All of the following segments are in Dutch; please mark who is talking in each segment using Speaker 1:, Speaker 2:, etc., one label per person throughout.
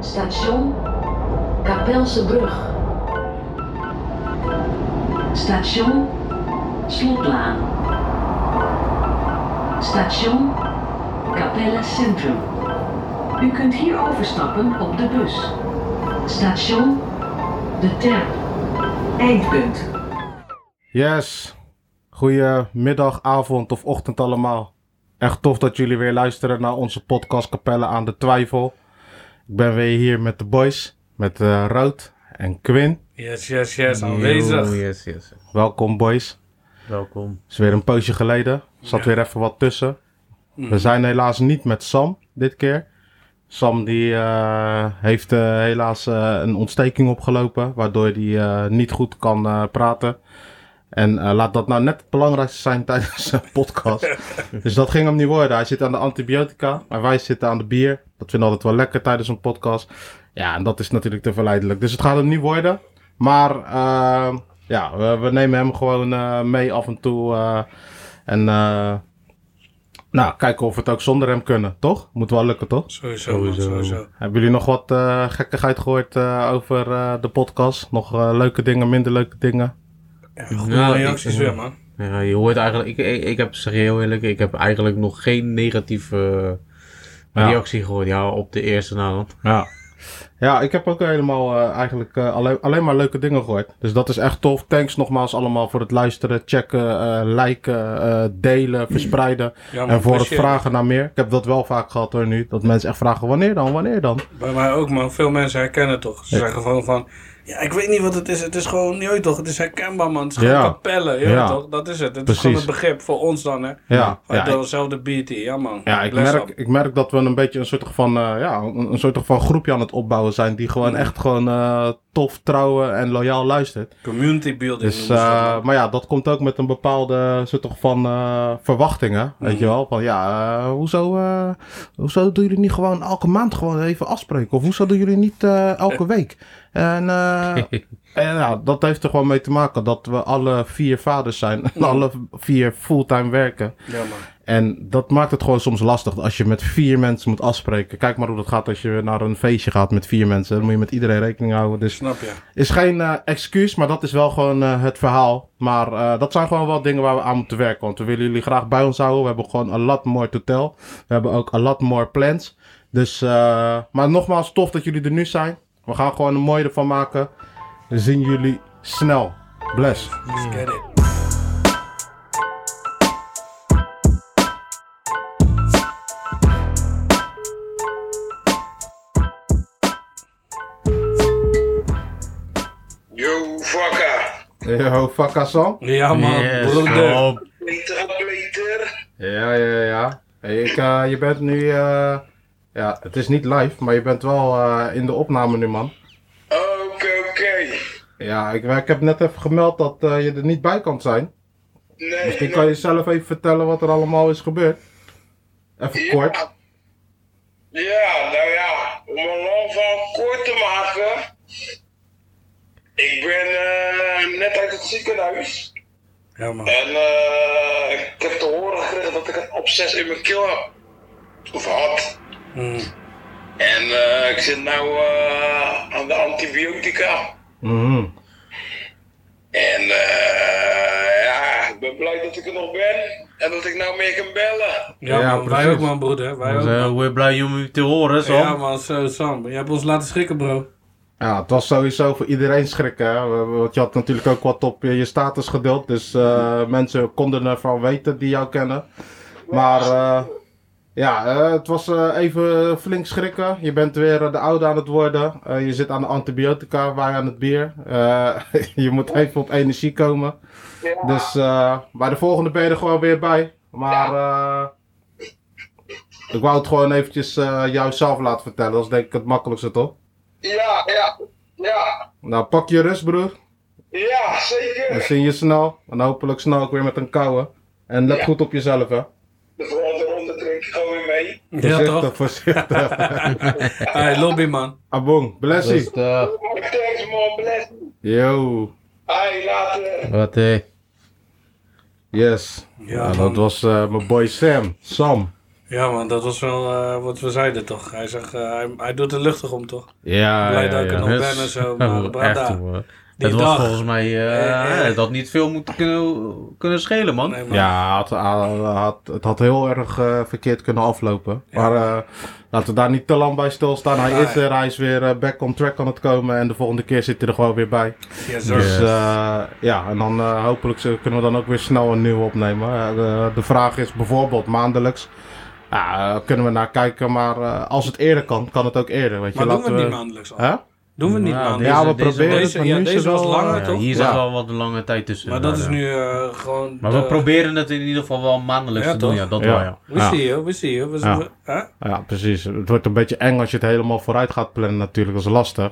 Speaker 1: Station Kapelsebrug. Station Slotlaan. Station Capella Centrum. U kunt hier overstappen op de bus. Station De Terp. Eindpunt.
Speaker 2: Yes. Goedemiddag, avond of ochtend allemaal. Echt tof dat jullie weer luisteren naar onze podcast Capelle aan de Twijfel. Ik ben weer hier met de boys, met eh Rood en Quinn.
Speaker 3: Yes, yes, yes, aanwezig.
Speaker 4: Yo, yes, yes.
Speaker 2: Welkom boys.
Speaker 4: Welkom.
Speaker 2: is weer een poosje geleden. Zat weer even wat tussen. We zijn helaas niet met Sam dit keer. Sam die eh, heeft eh, helaas eh, een ontsteking opgelopen, waardoor hij eh, niet goed kan eh, praten. En eh, laat dat nou net het belangrijkste zijn tijdens een podcast. dus dat ging hem niet worden. Hij zit aan de antibiotica, maar wij zitten aan de bier. Dat vinden we altijd wel lekker tijdens een podcast. Ja, en dat is natuurlijk te verleidelijk. Dus het gaat hem niet worden. Maar eh, ja, we, we nemen hem gewoon eh, mee af en toe. eh, en eh, nou, kijken of we het ook zonder hem kunnen, toch? Moet wel lukken, toch?
Speaker 3: Sowieso, man,
Speaker 4: Sowieso.
Speaker 3: sowieso.
Speaker 2: Hebben jullie nog wat eh, gekkigheid gehoord eh, over eh, de podcast? Nog eh, leuke dingen, minder leuke dingen?
Speaker 3: Ja, goede
Speaker 4: Nou,
Speaker 3: reacties
Speaker 4: ik-
Speaker 3: weer, man.
Speaker 4: Ja, je hoort eigenlijk, ik, ik, ik heb, zeg je heel eerlijk, ik heb eigenlijk nog geen negatieve eh,
Speaker 2: Ja.
Speaker 4: reactie gehoord ja, op de eerste naland.
Speaker 2: Ja. Ja, ik heb ook helemaal eh, eigenlijk eh, alleen, alleen maar leuke dingen gehoord. Dus dat is echt tof. Thanks nogmaals allemaal voor het luisteren, checken, eh, liken, eh, delen, verspreiden.
Speaker 3: Ja, man,
Speaker 2: en voor het
Speaker 3: plezier.
Speaker 2: vragen naar meer. Ik heb dat wel vaak gehad hoor nu. Dat mensen echt vragen, wanneer dan, wanneer dan?
Speaker 3: Bij mij ook, man. Veel mensen herkennen het toch. Ze zeggen gewoon van... Ja, ik weet niet wat het is. Het is gewoon... Je weet toch, het is herkenbaar, man. Het is gewoon
Speaker 2: Ja.
Speaker 3: kapellen. Je weet
Speaker 2: Ja.
Speaker 3: toch? Dat is het. Het
Speaker 2: Precies.
Speaker 3: is gewoon het begrip voor ons dan, hè.
Speaker 2: Ja,
Speaker 3: Van
Speaker 2: ja, ik-
Speaker 3: dezelfde BT. Ja, man.
Speaker 2: Ja, ik
Speaker 3: Bless
Speaker 2: merk,
Speaker 3: up.
Speaker 2: ik merk dat we een beetje een soort van, eh, ja, een, een soort van groepje aan het opbouwen zijn. Die gewoon echt gewoon eh, tof, trouwen en loyaal luistert.
Speaker 3: Community building.
Speaker 2: Dus,
Speaker 3: noemen ze dat,
Speaker 2: eh,
Speaker 3: man.
Speaker 2: maar ja, dat komt ook met een bepaalde soort toch van eh, verwachtingen. Weet je wel? Van ja, eh, hoezo, eh, hoezo doen jullie niet gewoon elke maand gewoon even afspreken? Of hoezo doen jullie niet eh, elke week? En, eh, en ja, dat heeft er gewoon mee te maken dat we alle vier vaders zijn. En alle vier fulltime werken.
Speaker 3: Ja, man.
Speaker 2: En dat maakt het gewoon soms lastig als je met vier mensen moet afspreken. Kijk maar hoe dat gaat als je naar een feestje gaat met vier mensen. Dan moet je met iedereen rekening houden. Dus
Speaker 3: Snap je?
Speaker 2: is geen eh, excuus, maar dat is wel gewoon eh, het verhaal. Maar eh, dat zijn gewoon wel dingen waar we aan moeten werken. Want we willen jullie graag bij ons houden. We hebben gewoon a lot more to tell. We hebben ook a lot more plans. Dus, eh, maar nogmaals, tof dat jullie er nu zijn. We gaan gewoon een mooie ervan maken. We zien jullie snel. Bless.
Speaker 3: Let's get it.
Speaker 5: Yo, fucker.
Speaker 2: Yo, Fakasan.
Speaker 3: Ja, man.
Speaker 4: Yes,
Speaker 3: Broeder.
Speaker 4: kom op.
Speaker 5: Meter op meter.
Speaker 2: Ja, ja, ja. Hey, ik, eh, je bent nu. eh, ja, het is niet live, maar je bent wel eh, in de opname nu, man.
Speaker 5: Oké, oké.
Speaker 2: Ja, ik, ik heb net even gemeld dat eh, je er niet bij kan zijn.
Speaker 5: Nee,
Speaker 2: Misschien Dus kan je zelf even vertellen wat er allemaal is gebeurd. Even
Speaker 5: nee.
Speaker 2: kort.
Speaker 5: Ja. Ja, nou ja. Om een lang verhaal kort te maken. Ik ben eh, net uit het ziekenhuis.
Speaker 3: Ja, man.
Speaker 5: En eh, ik heb te horen gekregen dat ik een obsess in mijn keel heb. Of had.
Speaker 3: Mm.
Speaker 5: En eh, ik zit nou eh, aan de antibiotica.
Speaker 2: Mhm.
Speaker 5: En eh, ja, ik ben blij dat ik er nog ben. En dat ik nou mee kan bellen.
Speaker 3: Ja,
Speaker 2: Ja,
Speaker 3: man. Wij
Speaker 2: precies.
Speaker 3: ook, man, broeder. Wij ook, man.
Speaker 4: Zo, We're Eh, blij om u te horen, zo.
Speaker 3: Ja, man. Zo, Sam. Je hebt ons laten schrikken, bro.
Speaker 2: Ja, het was sowieso voor iedereen schrikken. Hè? Want je had natuurlijk ook wat op je je status geduld. Dus eh, mensen konden ervan weten die jou kennen. Maar eh, ja, eh, het was eh, even flink schrikken. Je bent weer eh, de oude aan het worden. Eh, je zit aan de antibiotica, wij aan het bier. Eh, je moet even op energie komen.
Speaker 5: Ja.
Speaker 2: Dus eh, bij de volgende ben je er gewoon weer bij. Maar eh, ik wou het gewoon eventjes eh jou zelf laten vertellen. Dat is denk ik het makkelijkste toch?
Speaker 5: Ja, ja, ja,
Speaker 2: Nou, pak je rust, broer.
Speaker 5: ja,
Speaker 2: We
Speaker 5: zeker.
Speaker 2: zien je snel. En hopelijk snel ook weer met een kouwe. En let
Speaker 5: Ja.
Speaker 2: goed op jezelf, hè.
Speaker 5: De volgende ronde drink ik gewoon weer mee.
Speaker 3: Ja, toch?
Speaker 2: voorzichtig.
Speaker 3: Hey, lobby, man.
Speaker 2: Abong, blessie.
Speaker 4: Rustig.
Speaker 5: Thanks man, bless. you.
Speaker 2: Yo.
Speaker 5: Hey, later.
Speaker 4: Wat, eh, hé.
Speaker 2: Yes.
Speaker 3: Ja,
Speaker 2: Ja, dat
Speaker 3: man.
Speaker 2: was eh, mijn boy Sam. Sam.
Speaker 3: Ja, man, dat was wel eh, wat we zeiden toch? Hij zegt, eh, hij, hij doet er luchtig om toch?
Speaker 2: Ja,
Speaker 3: Blij
Speaker 2: ja,
Speaker 3: dat ik er
Speaker 2: ja.
Speaker 3: nog ben en zo, maar
Speaker 4: Oh, Echt,
Speaker 3: Brada,
Speaker 4: hoor.
Speaker 3: die
Speaker 4: Het was
Speaker 3: dag.
Speaker 4: volgens mij, eh,
Speaker 3: Eh, eh.
Speaker 4: het had niet veel moeten kunnen, kunnen schelen, man.
Speaker 3: Nee, man.
Speaker 2: Ja, had, had- had- het had heel erg eh, verkeerd kunnen aflopen. Maar eh, laten we daar niet te lang bij stilstaan. Hij
Speaker 3: Nee.
Speaker 2: is er, hij is weer eh, back on track aan het komen. En de volgende keer zit hij er gewoon weer bij.
Speaker 3: Yes, sir.
Speaker 2: Dus eh, ja, en dan eh, hopelijk zo- kunnen we dan ook weer snel een nieuwe opnemen. Eh, de, de vraag is bijvoorbeeld maandelijks. Ja, eh, kunnen we naar kijken, maar eh, als het eerder kan, kan het ook eerder. Weet je,
Speaker 3: Maar doen we
Speaker 2: laten
Speaker 3: het niet
Speaker 2: we...
Speaker 3: maandelijks al?
Speaker 2: Hè?
Speaker 3: Doen we het niet
Speaker 4: Nou,
Speaker 3: maandelijks?
Speaker 2: Ja, we
Speaker 4: deze-
Speaker 2: proberen het,
Speaker 3: deze-
Speaker 2: maar
Speaker 3: ja,
Speaker 2: nu is
Speaker 3: deze
Speaker 2: het
Speaker 3: was
Speaker 2: wel,
Speaker 3: langer,
Speaker 2: eh,
Speaker 4: Ja,
Speaker 3: toch?
Speaker 4: hier
Speaker 2: Ja.
Speaker 4: zat wel wat lange tijd tussen.
Speaker 3: Maar dat is
Speaker 4: ja.
Speaker 3: nu eh, gewoon...
Speaker 4: Maar
Speaker 3: de-
Speaker 4: we proberen het in ieder geval wel maandelijks
Speaker 3: Ja,
Speaker 4: te doen,
Speaker 3: toch?
Speaker 4: ja, dat
Speaker 2: Ja.
Speaker 4: wel, ja.
Speaker 3: We
Speaker 2: Ja.
Speaker 3: zien je, we zien je. We
Speaker 2: Ja.
Speaker 3: we- hè?
Speaker 2: Ja, precies. Het wordt een beetje eng als je het helemaal vooruit gaat plannen natuurlijk. Dat is lastig.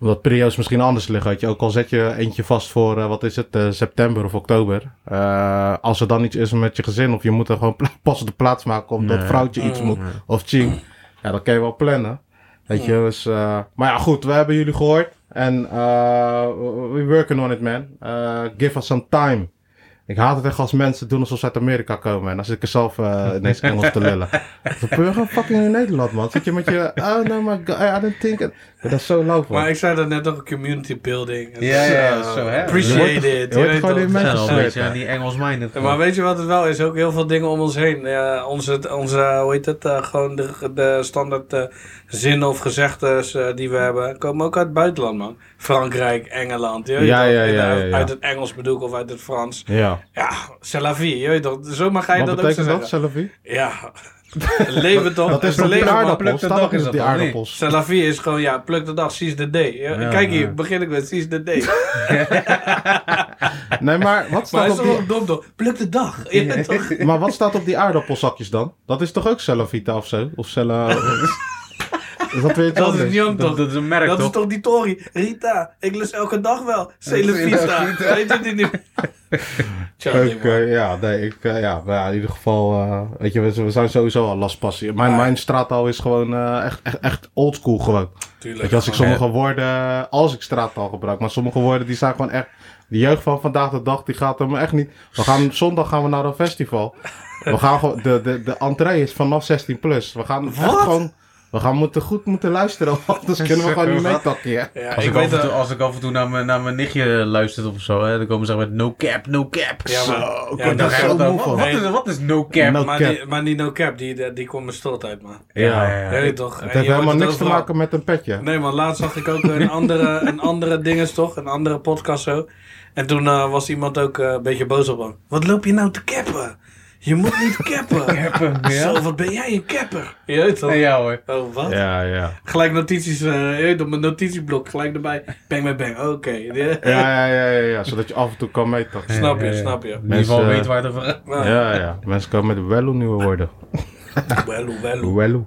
Speaker 2: Omdat periodes misschien anders liggen. Weet je. Ook al zet je eentje vast voor, eh, wat is het, eh, september of oktober. Eh, als er dan iets is met je gezin of je moet er gewoon pla- passende plaats maken omdat
Speaker 4: Nee.
Speaker 2: vrouwtje iets moet of ching. Ja, dan kan je wel plannen. Weet je, dus, eh, maar ja, goed, we hebben jullie gehoord. En eh, we working on it, man. Eh, give us some time. Ik haat het echt als mensen doen alsof ze uit Amerika komen. En dan zit ik er zelf eh, ineens Engels te lullen. We burger fucking in Nederland, man. Zit je met je... Oh, no, my God. I don't think... it- Dat is zo lauw, man.
Speaker 3: Maar ik zei dat net ook, community building. Het
Speaker 4: Ja,
Speaker 3: is,
Speaker 4: ja,
Speaker 3: eh,
Speaker 4: zo, hè.
Speaker 2: Je
Speaker 3: Appreciate
Speaker 2: wordt-
Speaker 3: it.
Speaker 2: je
Speaker 3: je
Speaker 2: wordt
Speaker 3: weet
Speaker 2: gewoon
Speaker 3: toch?
Speaker 2: in
Speaker 4: Ja,
Speaker 2: mensen
Speaker 4: wel een beetje
Speaker 2: zweten.
Speaker 4: aan die Engels-minded.
Speaker 3: Ja, Maar weet je wat het wel is? Ook heel veel dingen om ons heen. Ja, onze, onze, hoe heet het? eh, gewoon de, de standaard eh, zinnen of gezegdes eh, die we hebben, komen ook uit het buitenland, man. Frankrijk, Engeland. Je weet
Speaker 2: Ja,
Speaker 3: toch?
Speaker 2: ja,
Speaker 3: In-
Speaker 2: ja, ja,
Speaker 3: uit-
Speaker 2: ja.
Speaker 3: Uit het Engels bedoel ik of uit het Frans.
Speaker 2: Ja.
Speaker 3: Ja, c'est la vie. Je weet toch? Zomaar ga je
Speaker 2: Wat
Speaker 3: dat ook zo
Speaker 2: betekent
Speaker 3: zeggen.
Speaker 2: dat, Selfie?
Speaker 3: Ja. leven toch?
Speaker 2: Dat is
Speaker 3: Het
Speaker 2: toch die
Speaker 3: leven, man.
Speaker 2: aardappels?
Speaker 4: Pluk de
Speaker 2: Staat
Speaker 4: dag
Speaker 2: ook
Speaker 4: is
Speaker 2: eens
Speaker 4: dat
Speaker 2: die
Speaker 4: toch niet?
Speaker 2: aardappels.
Speaker 3: Salafie is gewoon, ja, pluk de dag, seize the day. Ja,
Speaker 4: Ja,
Speaker 3: Kijk hier,
Speaker 4: ja.
Speaker 3: begin ik met seize the day.
Speaker 2: Nee, maar wat
Speaker 3: maar
Speaker 2: staat
Speaker 3: hij is
Speaker 2: op
Speaker 3: toch wel
Speaker 2: die...
Speaker 3: dom, toch? Pluk de dag. Je weet toch?
Speaker 2: Maar wat staat op die aardappelzakjes dan? Dat is toch ook Cellavita of zo? Of Cella... Is dat weer iets
Speaker 3: Dat is
Speaker 2: anders?
Speaker 3: Nyon, toch?
Speaker 4: Dat, dat is een merk,
Speaker 3: Dat is
Speaker 4: toch?
Speaker 3: toch die Tori? Rita, ik lust elke dag wel. Celevita. Weet je die niet? Charlie,
Speaker 2: Oké,
Speaker 3: man.
Speaker 2: ja, nee, ik, eh, ja, maar ja, in ieder geval, eh, weet je, we, we zijn sowieso al lastpassie. Mijn, mijn straattaal is gewoon eh, echt, echt, echt oldschool gewoon. Weet je, als ik sommige woorden, als ik straattaal gebruik, maar sommige woorden die zijn gewoon echt, de jeugd van vandaag de dag, die gaat hem echt niet. We gaan, zondag gaan we naar een festival. We gaan gewoon, de, de, de entree is vanaf 16 plus. We gaan echt
Speaker 3: Wat?
Speaker 2: gewoon, we gaan moeten goed moeten luisteren, want anders kunnen we gewoon niet meetakken. hè.
Speaker 3: Ja,
Speaker 4: Als
Speaker 3: ik
Speaker 4: ik, af
Speaker 3: weet
Speaker 4: en toe,
Speaker 3: dat.
Speaker 4: als ik af en toe naar mijn, naar mijn nichtje luister of zo, hè, dan komen ze met no cap, no cap.
Speaker 3: Ja, maar- ja,
Speaker 4: ik
Speaker 3: maar
Speaker 4: word
Speaker 3: dat
Speaker 4: er
Speaker 3: is
Speaker 4: echt
Speaker 2: zo
Speaker 4: wat-
Speaker 2: moe
Speaker 4: wat,
Speaker 2: van.
Speaker 4: wat is, wat is no cap?
Speaker 2: No-
Speaker 3: Maar
Speaker 2: cap.
Speaker 3: die, maar die no cap, die, die, die komt me strot uit, man.
Speaker 4: Ja, ja,
Speaker 3: Ja,
Speaker 4: ja.
Speaker 3: weet je toch?
Speaker 2: Het
Speaker 3: En je
Speaker 2: heeft
Speaker 3: hoort
Speaker 2: helemaal
Speaker 3: het
Speaker 2: niks te
Speaker 3: overal.
Speaker 2: maken met een petje.
Speaker 3: Nee, man, laatst zag ik ook een andere, een andere dinges, toch? Een andere podcast zo. En toen eh, was iemand ook eh, een beetje boos op hem. Wat loop je nou te cappen? Je moet niet cappen.
Speaker 4: Cappen, ja.
Speaker 3: Zo, wat ben jij een capper? Je weet toch?
Speaker 4: Ja hoor.
Speaker 3: Oh, wat?
Speaker 2: Ja, ja.
Speaker 3: Gelijk notities, eh, je weet op mijn notitieblok, gelijk erbij. Bang, bang, bang. Oké.
Speaker 2: Ja, ja, ja, ja, ja, zodat je af en toe kan meeten.
Speaker 3: Snap je,
Speaker 4: Ja, ja, ja.
Speaker 3: snap je.
Speaker 4: In ieder geval
Speaker 2: Mensen,
Speaker 4: weet waar het over gaat.
Speaker 3: Nou,
Speaker 2: Ja, ja. Mensen komen met wello nieuwe woorden.
Speaker 3: Wello, wello.
Speaker 2: Wello.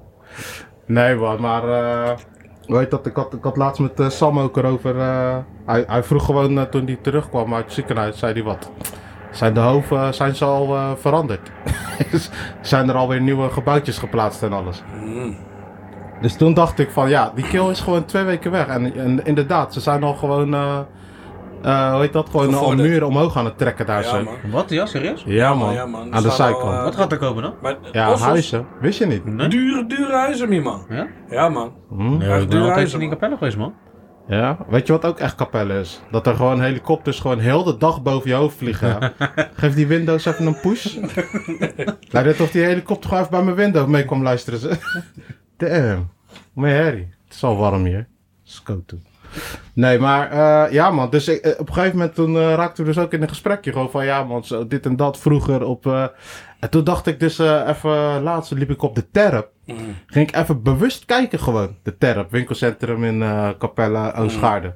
Speaker 2: Nee, wat, maar... eh, weet dat, ik had, ik had laatst met eh, Sam ook erover... eh, hij, hij vroeg gewoon eh, toen hij terugkwam uit het ziekenhuis, zei hij wat... Zijn de hoven, zijn ze al eh, veranderd? Dus zijn er alweer nieuwe gebouwtjes geplaatst en alles?
Speaker 3: Mm,
Speaker 2: Dus toen dacht ik van, ja, die kill is gewoon twee weken weg. En, en inderdaad, ze zijn al gewoon... eh eh, hoe heet dat? Gewoon al
Speaker 3: Gevorderd.
Speaker 2: muren omhoog aan het trekken daar
Speaker 3: Ja,
Speaker 2: zo.
Speaker 3: man.
Speaker 4: Wat, ja, serieus?
Speaker 2: Ja, man.
Speaker 3: ja, man. Er
Speaker 2: Aan de
Speaker 3: staan al,
Speaker 2: zijkant.
Speaker 3: eh,
Speaker 4: Wat gaat er komen dan?
Speaker 3: Maar, eh,
Speaker 2: ja,
Speaker 3: Ossos,
Speaker 2: huizen. Wist je niet?
Speaker 4: Nee?
Speaker 3: Dure, dure huizen, hier, man.
Speaker 4: Ja?
Speaker 3: Ja, man.
Speaker 2: Hm?
Speaker 4: Nee, ik ben
Speaker 3: duur
Speaker 4: altijd
Speaker 3: huizen,
Speaker 4: in die
Speaker 3: man.
Speaker 4: kapelle geweest, man.
Speaker 2: Ja. Weet je wat ook echt kapelle is? Dat er gewoon helikopters gewoon heel de dag boven je hoofd vliegen. Geef die Windows even een push. Lijkt net of die helikopter gewoon even bij mijn window mee kwam luisteren. ze. Damn. Mijn herrie. Het is al warm hier. Scoot toe. Nee, maar eh, ja man, dus ik- eh, op een gegeven moment toen eh, raakten we dus ook in een gesprekje gewoon van ja man, zo dit en dat vroeger op... eh, en toen dacht ik dus eh, even, laatst liep ik op de terp.
Speaker 3: Mm.
Speaker 2: Ging ik even bewust kijken gewoon, de terp, winkelcentrum in eh Capelle, Oosgaarden.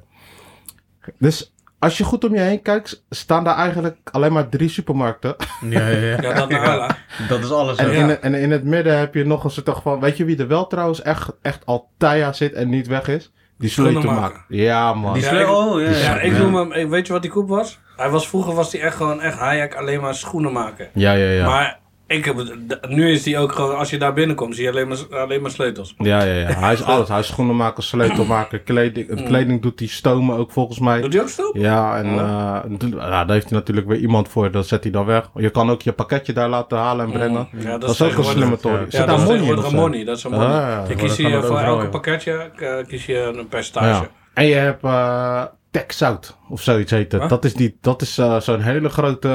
Speaker 2: Dus als je goed om je heen kijkt, staan daar eigenlijk alleen maar drie supermarkten.
Speaker 4: Ja, ja,
Speaker 3: Ja, dat naar Allah.
Speaker 4: Dat is alles.
Speaker 2: En,
Speaker 4: hè.
Speaker 3: Ja.
Speaker 2: in, en in het midden heb je nog eens toch van, weet je wie er wel trouwens echt, echt al tijja zit en niet weg is? Die
Speaker 3: Schoenenmaker.
Speaker 2: slotenmaker. Ja man.
Speaker 4: Die
Speaker 3: Ja,
Speaker 4: sleur-
Speaker 3: ik-
Speaker 4: oh, ja,
Speaker 3: Ja,
Speaker 4: ja.
Speaker 3: ik noem hem... ik- Weet je wat die koep was? Hij was vroeger was hij echt gewoon echt Hayek alleen maar schoenen maken.
Speaker 2: Ja, ja, ja.
Speaker 3: Maar Ik heb, het- d- nu is die ook gewoon, als je daar binnenkomt, zie je alleen maar, alleen maar sleutels.
Speaker 2: Ja, ja, ja. Hij is alles. Hij is schoenenmaker, sleutelmaker, kleding. Het kleding doet hij stomen ook volgens mij.
Speaker 3: Doet hij ook stoom?
Speaker 2: Ja, en eh, d- ja, daar heeft hij natuurlijk weer iemand voor. Dat zet hij dan weg. Je kan ook je pakketje daar laten halen
Speaker 3: Mm.
Speaker 2: en brengen.
Speaker 3: Ja,
Speaker 2: dat, is ook een
Speaker 3: tegenwoordig-
Speaker 2: slimme toren.
Speaker 4: ja.
Speaker 2: Zit
Speaker 3: Ja,
Speaker 2: daar
Speaker 3: dat is
Speaker 2: money in?
Speaker 3: tegenwoordig
Speaker 2: of
Speaker 3: een
Speaker 2: zo?
Speaker 3: money. Dat is een money.
Speaker 2: Ah, ja.
Speaker 3: je kiest
Speaker 4: dat kan
Speaker 3: hier
Speaker 4: er
Speaker 3: voor
Speaker 4: overal,
Speaker 3: elke
Speaker 4: ja.
Speaker 3: pakketje eh, kies je een percentage.
Speaker 2: Ja. En je hebt eh TechSout of zoiets heet het.
Speaker 3: Wat?
Speaker 2: Dat is, die- dat is eh, zo'n hele grote,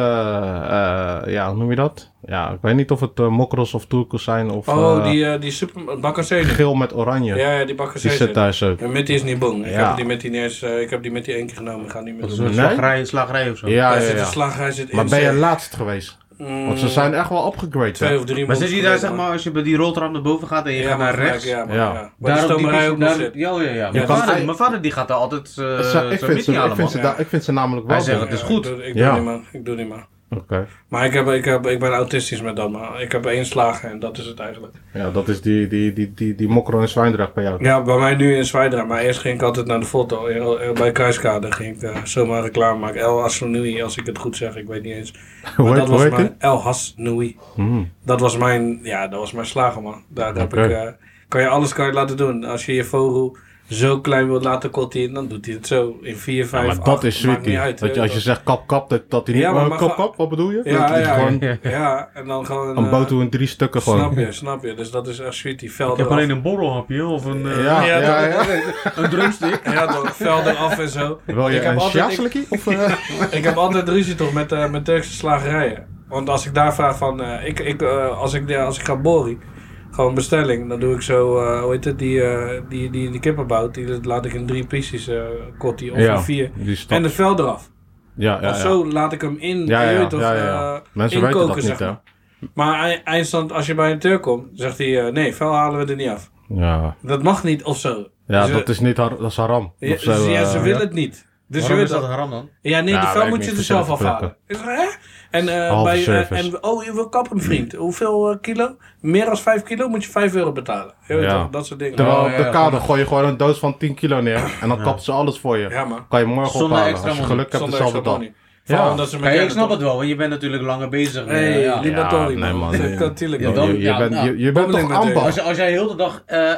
Speaker 2: eh, eh, ja, hoe noem je dat? Ja, ik weet niet of het eh, mokros of turkos zijn of
Speaker 3: Oh,
Speaker 2: eh,
Speaker 3: die, eh die super... Bakkerseden.
Speaker 2: geel met oranje.
Speaker 3: Ja, ja, die
Speaker 2: die zit
Speaker 3: bakkerseden.
Speaker 2: daar zo.
Speaker 3: En Mitty is niet bang. Ik
Speaker 2: Ja.
Speaker 3: heb die Mitty niet eens... eh, ik heb die Mitty één keer genomen. Ik ga niet meer
Speaker 4: Dat is
Speaker 3: doen.
Speaker 4: een
Speaker 2: Nee?
Speaker 4: slagerij, een slagerij of zo.
Speaker 2: Ja,
Speaker 3: hij
Speaker 2: ja,
Speaker 3: zit in
Speaker 2: ja.
Speaker 3: slag, hij zit in...
Speaker 2: Maar ben je
Speaker 3: zijn- Mm,
Speaker 2: laatst geweest? Want ze zijn echt wel upgraded.
Speaker 3: Twee
Speaker 2: hè?
Speaker 3: of drie
Speaker 4: Maar
Speaker 3: mondes
Speaker 4: zit je daar, zeg
Speaker 3: geleden,
Speaker 4: maar, als je bij die roltram naar boven gaat en je
Speaker 3: Ja,
Speaker 4: gaat naar
Speaker 3: maar
Speaker 4: rechts?
Speaker 3: gelijk, Ja, maar,
Speaker 2: Ja.
Speaker 3: ja. Waar
Speaker 4: Daar
Speaker 3: de
Speaker 4: op die
Speaker 3: stomerij ook nog
Speaker 4: daar-
Speaker 3: zit.
Speaker 4: Ja, ja, ja.
Speaker 3: Je
Speaker 4: Mijn,
Speaker 3: kan
Speaker 4: vader,
Speaker 2: geen-
Speaker 4: mijn vader die gaat daar altijd eh
Speaker 2: Ze- ik,
Speaker 4: zo'n
Speaker 2: vind ze,
Speaker 4: meeting
Speaker 2: ik,
Speaker 4: halen,
Speaker 2: vind ze
Speaker 4: man.
Speaker 2: daar- ik vind ze namelijk wel.
Speaker 4: Hij zegt
Speaker 2: goed.
Speaker 4: het is
Speaker 3: Ja,
Speaker 4: goed.
Speaker 3: Ik doe, ik
Speaker 2: Ja.
Speaker 3: doe niet meer. Ik doe niet meer.
Speaker 2: Oké.
Speaker 3: Maar ik, heb, ik, heb, ik ben autistisch met dat, maar ik heb één slager en dat is het eigenlijk.
Speaker 2: Ja, dat is die, die, die, die, die mokro en zwijndrag bij jou.
Speaker 3: Ja, bij mij nu in Zwijndrecht, maar eerst ging ik altijd naar de foto. eh, Bij Kruiskade ging ik eh, zomaar reclame maken. El Hasnoui, als ik het goed zeg, ik weet niet eens. Maar
Speaker 2: Hoe heet-
Speaker 3: dat was
Speaker 2: hoe heet
Speaker 3: mijn
Speaker 2: die?
Speaker 3: El Hasnoui.
Speaker 2: Hmm.
Speaker 3: Dat was mijn, ja, dat was mijn slagerman. Daar heb ik,
Speaker 2: Oké.
Speaker 3: eh, kan je alles kan je laten doen. Als je je vogel zo klein wilt laten kottien, dan doet hij het zo in 4, 5,
Speaker 2: Maar dat is
Speaker 3: maakt niet
Speaker 2: sweetie.
Speaker 3: uit.
Speaker 2: dat je,
Speaker 3: hè.
Speaker 2: als je zegt kap kap, dat, dat die niet...
Speaker 3: Ja, maar
Speaker 2: eh,
Speaker 3: mag-
Speaker 2: kap kap, wat bedoel je?
Speaker 3: Ja,
Speaker 2: Dat die
Speaker 3: ja,
Speaker 2: gewoon
Speaker 3: Ja, en dan gewoon...
Speaker 2: een
Speaker 3: eh,
Speaker 2: boter in drie stukken gewoon.
Speaker 3: Snap je, snap je. Dus dat is echt sweetie. Velden
Speaker 4: Ik heb alleen een borrelhapje of een, eh,
Speaker 2: Ja, ja, ja.
Speaker 4: een drumstick.
Speaker 3: Ja, toch, velden af en zo.
Speaker 2: Wil je
Speaker 3: ik, heb
Speaker 2: een
Speaker 3: altijd, ik,
Speaker 2: sjaaselijkie? Of, eh?
Speaker 3: ik heb altijd ruzie toch met, eh, met Turkse slagerijen. Want als ik daar vraag van, eh, ik, ik, eh, als, ik, ja, als ik ga bori, gewoon bestelling, dan doe ik zo, eh, hoe heet het, die, eh, die, die, die kippenbout, die dat laat ik in drie pieces eh kotti of
Speaker 2: Ja,
Speaker 3: in vier.
Speaker 2: die stap.
Speaker 3: En de vel eraf.
Speaker 2: Ja, ja,
Speaker 3: of
Speaker 2: ja.
Speaker 3: zo laat ik hem in,
Speaker 2: Ja, ja,
Speaker 3: je weet
Speaker 2: ja,
Speaker 3: toch,
Speaker 2: ja, ja.
Speaker 3: eh,
Speaker 2: Mensen
Speaker 3: inkoken,
Speaker 2: weten dat niet,
Speaker 3: zeg
Speaker 2: hè?
Speaker 3: maar. Maar ei- eindstand, als je bij een Turk komt, zegt hij, eh, nee, vel halen we er niet af.
Speaker 2: Ja,
Speaker 3: Dat mag niet of zo.
Speaker 2: ja
Speaker 3: Dus, eh,
Speaker 2: dat is niet har- dat is haram.
Speaker 3: Ja,
Speaker 2: Of zo,
Speaker 3: ze- ja,
Speaker 2: eh,
Speaker 3: ze willen het niet. Dus je weet dat.
Speaker 4: haram dan?
Speaker 3: Ja, nee,
Speaker 2: Ja,
Speaker 3: de
Speaker 2: weet
Speaker 3: vrouw
Speaker 2: ik
Speaker 3: moet
Speaker 2: niet,
Speaker 3: je er
Speaker 2: verzet
Speaker 3: zelf
Speaker 2: te
Speaker 3: afhalen.
Speaker 2: plukken.
Speaker 3: Is er, hè? En, eh,
Speaker 2: Halve
Speaker 3: bij, eh,
Speaker 2: service. Hmm.
Speaker 3: en, oh, je wil kappen, vriend. Hoeveel eh, kilo? Meer dan 5 kilo moet je 5 euro betalen. Je weet
Speaker 2: Ja.
Speaker 3: toch, dat soort dingen.
Speaker 2: Terwijl
Speaker 4: Oh,
Speaker 2: op
Speaker 4: ja,
Speaker 2: de
Speaker 4: ja,
Speaker 2: kade gooi je gewoon een doos van 10 kilo neer. En dan kapt ze alles voor je.
Speaker 3: Ja, man.
Speaker 2: Kan je morgen
Speaker 4: Zonder
Speaker 2: ophalen.
Speaker 4: extra
Speaker 2: Als je
Speaker 4: money.
Speaker 2: geluk hebt,
Speaker 3: Zonder
Speaker 2: hetzelfde
Speaker 3: extra
Speaker 2: dan.
Speaker 3: money. Vooral
Speaker 2: Ja.
Speaker 3: omdat ze
Speaker 4: ik
Speaker 3: elkaar
Speaker 4: snap
Speaker 3: toch-
Speaker 4: het wel, want je bent natuurlijk langer bezig. eh,
Speaker 3: Hey,
Speaker 4: ja.
Speaker 3: liberatorie,
Speaker 2: Ja, nee,
Speaker 3: man.
Speaker 2: man.
Speaker 3: Natuurlijk,
Speaker 4: Ja,
Speaker 3: man.
Speaker 4: dan-
Speaker 2: Je, je
Speaker 4: ja,
Speaker 2: bent,
Speaker 4: nou.
Speaker 2: je, je bent
Speaker 3: Bommeling
Speaker 2: toch
Speaker 3: natuurlijk.
Speaker 2: ambacht?
Speaker 4: Als, je, als jij heel de dag eh,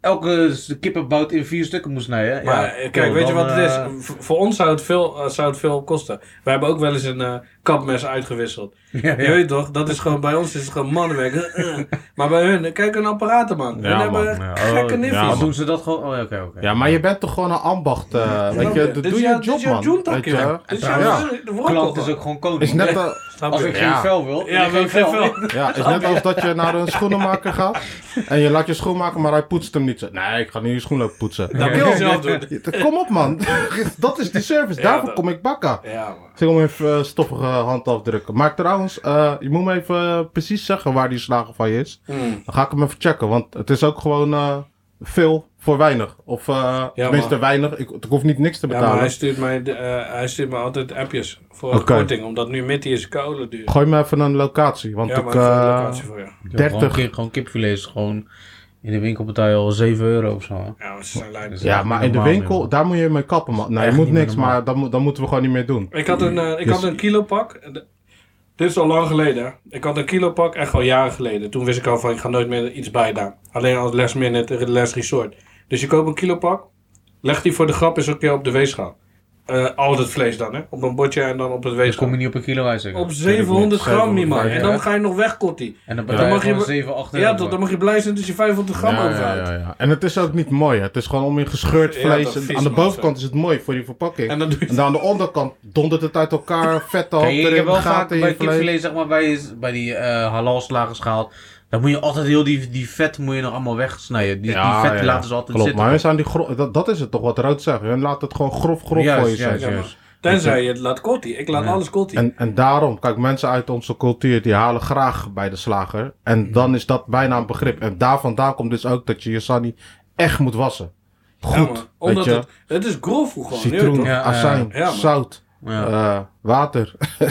Speaker 4: elke s- kippenbout in vier stukken moest snijden.
Speaker 3: Maar
Speaker 4: ja,
Speaker 3: eh, kijk,
Speaker 4: joh,
Speaker 3: weet je
Speaker 4: dan,
Speaker 3: wat het is?
Speaker 4: eh,
Speaker 3: V- voor ons zou het, veel, eh, zou het veel kosten. We hebben ook wel eens een eh, kapmes uitgewisseld.
Speaker 4: ja,
Speaker 3: Je
Speaker 4: ja.
Speaker 3: weet toch, dat is gewoon, bij ons is het gewoon mannenwerk. Eh, eh. maar bij hun, kijk hun apparaten, man.
Speaker 2: Ja,
Speaker 3: hun hebben
Speaker 2: man.
Speaker 4: Ja,
Speaker 3: gekke
Speaker 4: oh,
Speaker 3: niffies.
Speaker 2: ja,
Speaker 4: Doen ze dat gewoon? Oh, ja, oké, oké.
Speaker 2: Ja, maar je bent toch gewoon een ambacht. eh, weet je, doe
Speaker 3: Dit
Speaker 2: doe
Speaker 3: is
Speaker 2: je
Speaker 3: jouw-
Speaker 2: job,
Speaker 3: dit is jouw
Speaker 2: man.
Speaker 3: joentak,
Speaker 2: Weet je,
Speaker 3: joh.
Speaker 2: hè?
Speaker 3: Dit is
Speaker 2: Ja.
Speaker 3: jouw de- de wortel,
Speaker 4: Klant is
Speaker 3: man.
Speaker 4: ook gewoon koning.
Speaker 2: Is net, eh,
Speaker 3: Snap
Speaker 4: Als
Speaker 3: je?
Speaker 4: ik
Speaker 2: Ja.
Speaker 4: geen vel wil,
Speaker 3: Ja,
Speaker 4: ja,
Speaker 3: maar
Speaker 4: geen vel.
Speaker 3: geen vel.
Speaker 2: ja, is net alsof dat je naar een schoenenmaker gaat. En je laat je schoen maken, maar hij poetst hem niet. Zo, Nee, ik ga nu je schoen lopen poetsen.
Speaker 3: Dat moet je zelf doen.
Speaker 2: Ja, Kom op, man. Dat is die service. Daarvoor
Speaker 3: dat-
Speaker 2: kom ik bakken.
Speaker 3: Ja, man.
Speaker 2: Ik om even eh, stoffige hand afdrukken. Maar trouwens, eh, je moet me even eh, precies zeggen waar die slager van je is.
Speaker 3: Mm.
Speaker 2: Dan ga ik hem even checken, want het is ook gewoon eh, veel voor weinig. Of eh, tenminste
Speaker 3: maar-
Speaker 2: weinig. Ik, ik hoef niet niks te
Speaker 3: Ja, maar
Speaker 2: betalen.
Speaker 3: hij stuurt, mij, de- eh, hij stuurt me altijd appjes voor
Speaker 2: Oké.
Speaker 3: korting, omdat nu Mitty is kolen duur.
Speaker 2: Gooi me even een locatie, want
Speaker 3: Ja,
Speaker 2: ik...
Speaker 3: maar ik heb een
Speaker 2: eh,
Speaker 3: locatie voor jou.
Speaker 2: 30.
Speaker 4: Gewoon, kip, gewoon kipfilet is gewoon in de winkel betaal je al 7 euro of zo. hè.
Speaker 3: Ja, maar ze zijn lui.
Speaker 4: Dus
Speaker 2: ja, maar in de
Speaker 4: Normaal,
Speaker 2: winkel,
Speaker 4: joh.
Speaker 2: daar moet je mee kappen, man. Nou, je
Speaker 4: Echt
Speaker 2: moet
Speaker 4: niet meer
Speaker 2: niks,
Speaker 4: normaal.
Speaker 2: maar dan, moet- dan moeten we gewoon niet meer doen.
Speaker 3: Ik had een, eh, ik
Speaker 2: Dus-
Speaker 3: had een kilopak. Eh, de- Dit is al lang geleden. hè. Ik had een kilopak, echt al jaren geleden. Toen wist ik al van, ik ga nooit meer iets bijdaan. Alleen als last minute, last resort. Dus je koopt een kilopak, legt die voor de grap eens een keer op de weegschaal. Eh, al dat vlees dan, hè. Op een bordje en dan op het
Speaker 4: Dus
Speaker 3: weegschaal.
Speaker 4: kom je niet op een kilo uit zeker?
Speaker 3: Op 700 gram, niet man.
Speaker 2: 700,
Speaker 3: En dan ga je nog weg, Kotti.
Speaker 4: En dan
Speaker 3: Dan
Speaker 4: betaal je
Speaker 3: mag je
Speaker 4: gewoon
Speaker 3: be-
Speaker 4: 7, 8 euro.
Speaker 3: Ja, toch, dan mag je blij zijn dat je 500 gram
Speaker 2: Ja, ja,
Speaker 3: overhoudt.
Speaker 2: ja, ja. En het is ook niet mooi. hè. Het is gewoon om in gescheurd
Speaker 3: Ja,
Speaker 2: vlees.
Speaker 3: dat
Speaker 2: En
Speaker 3: vies,
Speaker 2: aan de
Speaker 3: man,
Speaker 2: bovenkant is het mooi voor die verpakking.
Speaker 3: En dan doe je
Speaker 2: En dan aan de onderkant dondert het uit elkaar, vet al,
Speaker 4: Kijk, ik heb
Speaker 2: erin,
Speaker 4: wel vaak
Speaker 2: gaten in
Speaker 4: bij
Speaker 2: je vlees.
Speaker 4: kipfilet, zeg maar, bij, bij die eh halal slagers gehaald. Dan moet je altijd heel die, die vet moet je nog allemaal wegsnijden. Die,
Speaker 2: Ja,
Speaker 4: die vet
Speaker 2: ja, ja.
Speaker 4: laten ze altijd
Speaker 2: Klopt,
Speaker 4: zitten.
Speaker 2: maar hun zijn die gro- dat, dat is het toch wat Rood zegt. Hun laat het gewoon grof, grof
Speaker 4: Juist,
Speaker 2: voor je
Speaker 4: juist,
Speaker 2: zijn.
Speaker 4: juist.
Speaker 3: maar Tenzij je het laat Kotti. Ik laat alles Kotti.
Speaker 2: En, en daarom, kijk, mensen uit onze cultuur die halen graag bij de slager.
Speaker 3: Mhm.
Speaker 2: En dan is dat bijna een begrip. En daar vandaan komt dus ook dat je je sani echt moet wassen.
Speaker 3: Ja,
Speaker 2: Goed,
Speaker 3: man.
Speaker 2: weet
Speaker 3: Omdat
Speaker 2: je.
Speaker 3: het, het is grof gewoon. je weet
Speaker 2: Citroen,
Speaker 3: toch?
Speaker 4: Ja, eh,
Speaker 2: azijn,
Speaker 3: ja, man.
Speaker 2: zout,
Speaker 4: Ja.
Speaker 2: eh, water.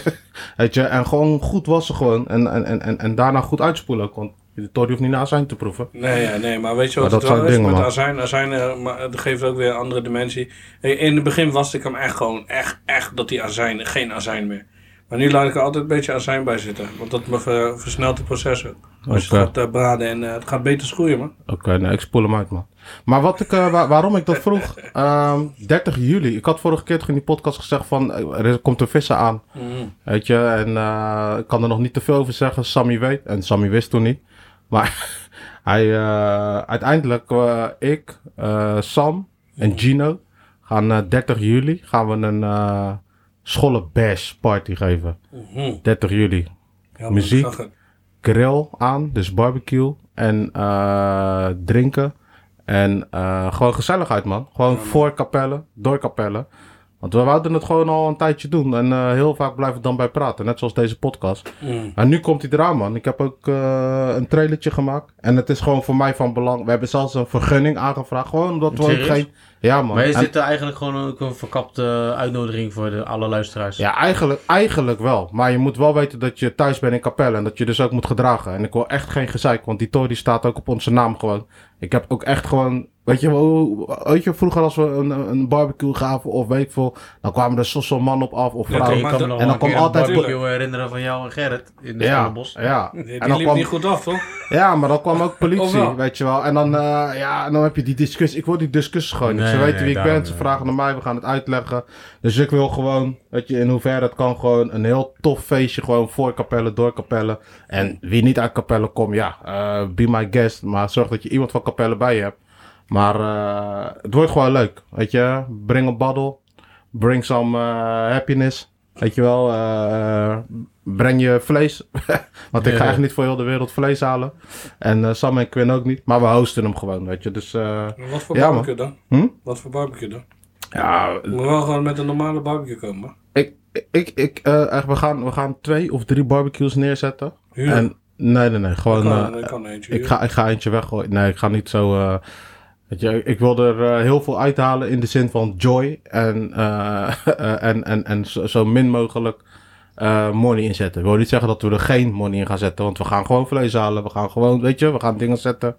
Speaker 2: weet je, en gewoon goed wassen gewoon. En, en, en, en, en daarna goed uitspoelen ook. Want de tori hoeft niet naar azijn te proeven.
Speaker 3: Nee, ja, nee, maar weet je wat
Speaker 2: Maar
Speaker 3: het
Speaker 2: dat
Speaker 3: wel
Speaker 2: zijn
Speaker 3: is
Speaker 2: dingen,
Speaker 3: met
Speaker 2: man.
Speaker 3: azijn? Azijn eh, maar het geeft ook weer een andere dimensie. Eh, In het begin was ik hem echt gewoon, echt, echt dat die azijn, geen azijn meer. Maar nu laat ik er altijd een beetje azijn bij zitten. Want dat me ver- versnelt de processen. Als je
Speaker 2: Oké.
Speaker 3: het gaat eh, braden en eh, het gaat beter schroeien, man.
Speaker 2: Oké, nou, ik spoel hem uit, man. Maar wat ik, eh, wa- waarom ik dat vroeg, ehm, 30 juli. Ik had vorige keer toch in die podcast gezegd van, eh, er is- komt een visser aan. Weet je, en eh, ik kan er nog niet te veel over zeggen. Sammy weet, en Sammy wist toen niet. Maar hij, eh, uiteindelijk, eh, ik, eh, Sam en Gino gaan eh, 30 juli gaan we een eh scholenbash party geven. 30 juli.
Speaker 3: Ja, man,
Speaker 2: Muziek.
Speaker 3: ik zag het.
Speaker 2: grill aan, dus barbecue en eh, drinken. En eh, gewoon gezelligheid, man. Gewoon voor kapellen, door kapellen. Want we wouden het gewoon al een tijdje doen. En eh, heel vaak blijven we dan bij praten. Net zoals deze podcast.
Speaker 3: Mm.
Speaker 2: En nu komt hij eraan, man. Ik heb ook eh, een trailertje gemaakt. En het is gewoon voor mij van belang. We hebben zelfs een vergunning aangevraagd. Gewoon omdat we ook
Speaker 4: Serieus?
Speaker 2: geen... Ja, man.
Speaker 4: Maar is
Speaker 2: En-
Speaker 4: dit eh, eigenlijk gewoon ook een verkapte uitnodiging voor de, alle luisteraars?
Speaker 2: Ja, eigenlijk, eigenlijk wel. Maar je moet wel weten dat je thuis bent in Capelle en dat je dus ook moet gedragen. En ik wil echt geen gezeik, want die Tory staat ook op onze naam gewoon. Ik heb ook echt gewoon. Weet je, hoe- weet je vroeger als we een, een barbecue gaven of weet ik veel, dan kwamen er soms zo'n man op af of
Speaker 3: Ja,
Speaker 4: Oké,
Speaker 2: vrouw.
Speaker 4: ik
Speaker 3: maar
Speaker 4: kan me
Speaker 3: dat-
Speaker 4: nog
Speaker 2: en dan
Speaker 4: wel een
Speaker 2: kwam
Speaker 4: keer een
Speaker 2: altijd-
Speaker 4: barbecue herinneren van jou en Gerrit in de
Speaker 2: Ja,
Speaker 4: Schellebos.
Speaker 2: ja.
Speaker 3: Die,
Speaker 2: En
Speaker 3: die
Speaker 2: dan
Speaker 3: liep
Speaker 2: kwam,
Speaker 3: niet goed af, toch?
Speaker 2: ja, maar dan kwam ook
Speaker 3: Of
Speaker 2: politie,
Speaker 3: wel?
Speaker 2: weet je wel. En dan, eh, ja, en dan heb je die discussie. Ik wil die discussie gewoon niet.
Speaker 4: Nee,
Speaker 2: ze weten
Speaker 4: nee,
Speaker 2: wie ik
Speaker 4: daarom,
Speaker 2: ben, ze
Speaker 4: ja.
Speaker 2: vragen naar mij, we gaan het uitleggen. Dus ik wil gewoon, weet je, in hoeverre het kan, gewoon een heel tof feestje. Gewoon voor kapellen, door kapellen. En wie niet uit kapellen komt, ja, eh, be my guest. Maar zorg dat je iemand van kapellen bij je hebt. Maar eh, het wordt gewoon leuk, weet je. Bring een baddel, bring some eh, happiness. Weet je wel, eh, breng je vlees. Want ik ga
Speaker 4: Ja.
Speaker 2: echt niet voor heel de wereld vlees halen. En eh, Sam en Quinn ook niet. Maar we hosten hem gewoon, weet je. Dus eh,
Speaker 3: Wat voor
Speaker 2: Ja, man.
Speaker 3: barbecue dan?
Speaker 2: Hm?
Speaker 3: Wat voor barbecue dan?
Speaker 2: ja,
Speaker 3: Je moet wel gewoon met een normale barbecue komen, man.
Speaker 2: ik, ik, ik, eh, echt, we, gaan, we gaan twee of drie barbecues neerzetten.
Speaker 3: Huren.
Speaker 2: En, nee, nee, nee. Gewoon,
Speaker 3: kan,
Speaker 2: eh,
Speaker 3: ik kan eentje
Speaker 2: ik,
Speaker 3: huren.
Speaker 2: ga, ik ga eentje weggooien. Nee, ik ga niet zo... eh, weet je, ik wil er eh, heel veel uithalen in de zin van joy. En, eh, eh, en, en, en zo, zo min mogelijk eh, money inzetten. Ik wil niet zeggen dat we er geen money in gaan zetten. Want we gaan gewoon vlees halen. We gaan gewoon, weet je, we gaan dingen zetten.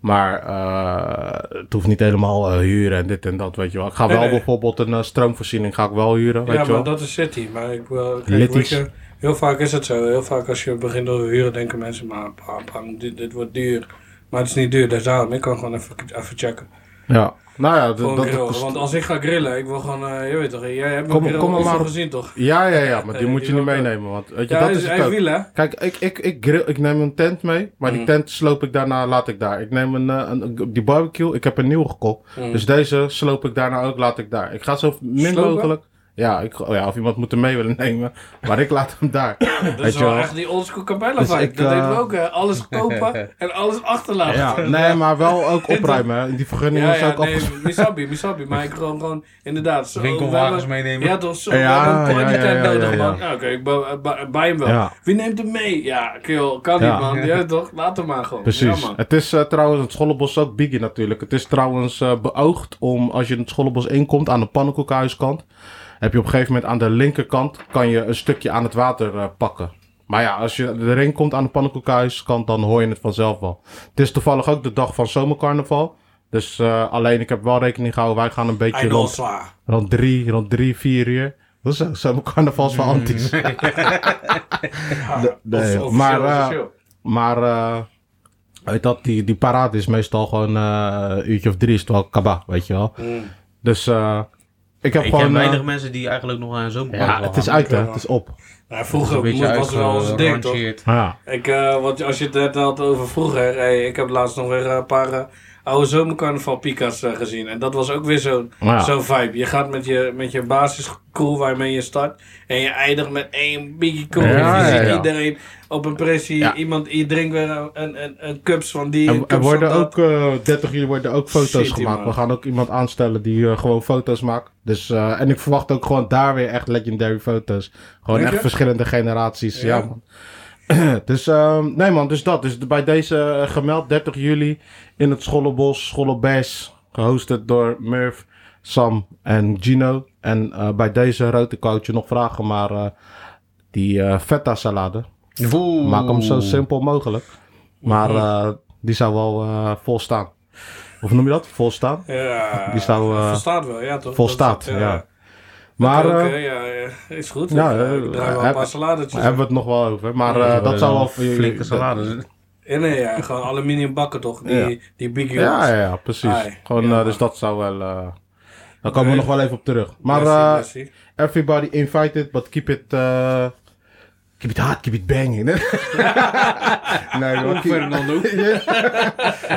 Speaker 2: Maar eh, het hoeft niet helemaal eh, huren en dit en dat, weet je wel. Ik ga
Speaker 3: Nee,
Speaker 2: wel
Speaker 3: nee.
Speaker 2: bijvoorbeeld een eh, stroomvoorziening ga ik wel huren, weet
Speaker 3: ja,
Speaker 2: je wel.
Speaker 3: maar dat is City. Maar ik wil. kijk,
Speaker 2: Litties.
Speaker 3: weet je, heel vaak is het zo. Heel vaak als je begint over huren, denken mensen: maar pa, pa, dit, dit wordt duur. Maar het is niet duur, dat is daarom. Ik kan gewoon even, even checken.
Speaker 2: Ja, nou ja, d-
Speaker 3: Gewoon
Speaker 2: dat,
Speaker 3: grillen.
Speaker 2: dat-
Speaker 3: Want als ik ga grillen, ik wil gewoon, eh, je weet toch, jij hebt
Speaker 2: Kom-
Speaker 3: me grill
Speaker 2: kom maar
Speaker 3: oefenen
Speaker 2: maar op-
Speaker 3: gezien toch?
Speaker 2: ja, ja, ja, maar die
Speaker 3: Eh,
Speaker 2: moet je
Speaker 3: die
Speaker 2: niet
Speaker 3: wil ik ook.
Speaker 2: meenemen, want weet je,
Speaker 3: Ja,
Speaker 2: dat
Speaker 3: hij
Speaker 2: is
Speaker 3: is
Speaker 2: het
Speaker 3: hij
Speaker 2: ook.
Speaker 3: wiel, hè? Mm.
Speaker 2: Kijk, ik, ik, ik, grill, ik neem een tent mee, maar die tent sloop ik daarna, laat ik daar. Ik neem een, eh, een die barbecue, ik heb een nieuwe gekocht.
Speaker 3: Mm.
Speaker 2: Dus deze sloop ik daarna ook, laat ik daar. Ik ga zo min
Speaker 3: Slopen?
Speaker 2: mogelijk... Ja, ik, oh ja, of iemand moet hem mee willen nemen, maar ik laat hem daar.
Speaker 3: Dat is wel echt die oldschool Cabella
Speaker 2: Dus
Speaker 3: vibe.
Speaker 2: ik,
Speaker 3: dat
Speaker 2: eh,
Speaker 3: deden we ook, hè. Alles kopen en alles achterlaten.
Speaker 2: Ja, nee, maar wel ook opruimen, hè. Die vergunning
Speaker 3: Ja,
Speaker 2: is
Speaker 3: ja,
Speaker 2: ook
Speaker 3: nee,
Speaker 2: afges-
Speaker 3: misabi, misabi. Maar ik gewoon, gewoon inderdaad. Zo,
Speaker 4: Winkelwagens
Speaker 3: wel-
Speaker 4: meenemen.
Speaker 3: Ja, toch? Zo,
Speaker 2: Ja,
Speaker 3: ja, een
Speaker 2: ja,
Speaker 3: party
Speaker 2: ja, ja,
Speaker 3: nodig,
Speaker 2: ja,
Speaker 3: man.
Speaker 2: ja.
Speaker 3: Ja, Oké, ik ba- ba- bij hem wel.
Speaker 2: Ja.
Speaker 3: Wie neemt hem mee? Ja, kill, kan
Speaker 2: Ja.
Speaker 3: niet, man. Ja, toch? Laat hem maar gewoon.
Speaker 2: Precies.
Speaker 3: Ja, man.
Speaker 2: het is eh, trouwens, het Schollebos is ook biggie natuurlijk. Het is trouwens eh, beoogd om, als je het Schollebos inkomt aan de pannenkoekhuiskant, heb je op een gegeven moment aan de linkerkant, kan je een stukje aan het water eh, pakken. Maar ja, als je erin komt aan de pannenkoekhuiskant, dan hoor je het vanzelf wel. Het is toevallig ook de dag van zomercarnaval. Dus eh, alleen, ik heb wel rekening gehouden, wij gaan een beetje
Speaker 3: Eindel
Speaker 2: rond,
Speaker 3: zwaar.
Speaker 2: rond drie, rond drie, vier uur. Dat is zomercarnaval is van antisch. nee, maar, eh, Maar eh, weet dat, die, die parade is meestal gewoon eh, een uurtje of drie is het wel kaba, weet je wel. Dus eh, ik heb
Speaker 4: Ik
Speaker 2: gewoon...
Speaker 4: ken weinig
Speaker 2: eh,
Speaker 4: mensen die eigenlijk nog aan zo'n
Speaker 2: ja, het is uit hè, het is op.
Speaker 3: Nou, vroeger moest- was het
Speaker 4: eh,
Speaker 3: wel eens ding, toch?
Speaker 2: Ja,
Speaker 3: Ik, eh, want als je het net had over vroeger, hey, ik heb laatst nog weer een paar eh, oude zomercarnaval Pika's eh, gezien. En dat was ook weer zo'n
Speaker 2: Ja.
Speaker 3: zo'n vibe. Je gaat met je, met je basiscool waarmee je start en je eindigt met één biggie cool.
Speaker 2: Ja,
Speaker 3: je
Speaker 2: ja,
Speaker 3: ziet
Speaker 2: ja.
Speaker 3: iedereen op een pressie,
Speaker 2: Ja.
Speaker 3: iemand, je drinkt weer een, een, een, een cups van die, een
Speaker 2: en
Speaker 3: cups
Speaker 2: er worden
Speaker 3: van
Speaker 2: ook, eh 30 juli worden ook foto's
Speaker 3: Shit,
Speaker 2: gemaakt.
Speaker 3: man.
Speaker 2: We gaan ook iemand aanstellen die eh, gewoon foto's maakt. Dus, eh, en ik verwacht ook gewoon daar weer echt legendary foto's. Gewoon
Speaker 3: Denk
Speaker 2: echt
Speaker 3: je?
Speaker 2: verschillende generaties, ja,
Speaker 3: Ja.
Speaker 2: man. dus, ehm, nee man, dus dat. Dus bij deze eh, gemeld 30 juli in het Schollebos, Schollebes, gehosted door Murph, Sam en Gino. En eh, bij deze rode koudje nog vragen, maar eh, die eh, feta salade, maak hem zo simpel mogelijk. Maar eh, die zou wel eh, vol staan. Of noem je dat? Vol staan?
Speaker 3: Ja,
Speaker 2: Die zou, eh,
Speaker 3: volstaat wel, ja toch?
Speaker 2: Volstaat,
Speaker 3: Dat is het,
Speaker 2: ja. Maar
Speaker 3: Oké,
Speaker 2: eh,
Speaker 3: ja, ja, is goed.
Speaker 2: ja,
Speaker 3: Ja,
Speaker 2: eh,
Speaker 3: ik draai wel een
Speaker 2: heb-
Speaker 3: paar saladetjes.
Speaker 2: hebben we het nog wel over. Maar eh, dat zou wel...
Speaker 4: flinke salade.
Speaker 3: Ja, nee, ja, gewoon aluminium bakken toch? Die, die Biggie
Speaker 2: Ja,
Speaker 3: Rolls.
Speaker 2: ja, ja, precies.
Speaker 3: Ai,
Speaker 2: Gewoon,
Speaker 3: ja.
Speaker 2: eh, dus dat zou wel... eh, daar komen we
Speaker 3: Oké.
Speaker 2: nog wel even op terug. Maar
Speaker 3: Messi,
Speaker 2: eh,
Speaker 3: Messi.
Speaker 2: everybody invited, but keep it... eh, keep it hard, keep it banging. hè? nee, maar keep-
Speaker 4: Fernando.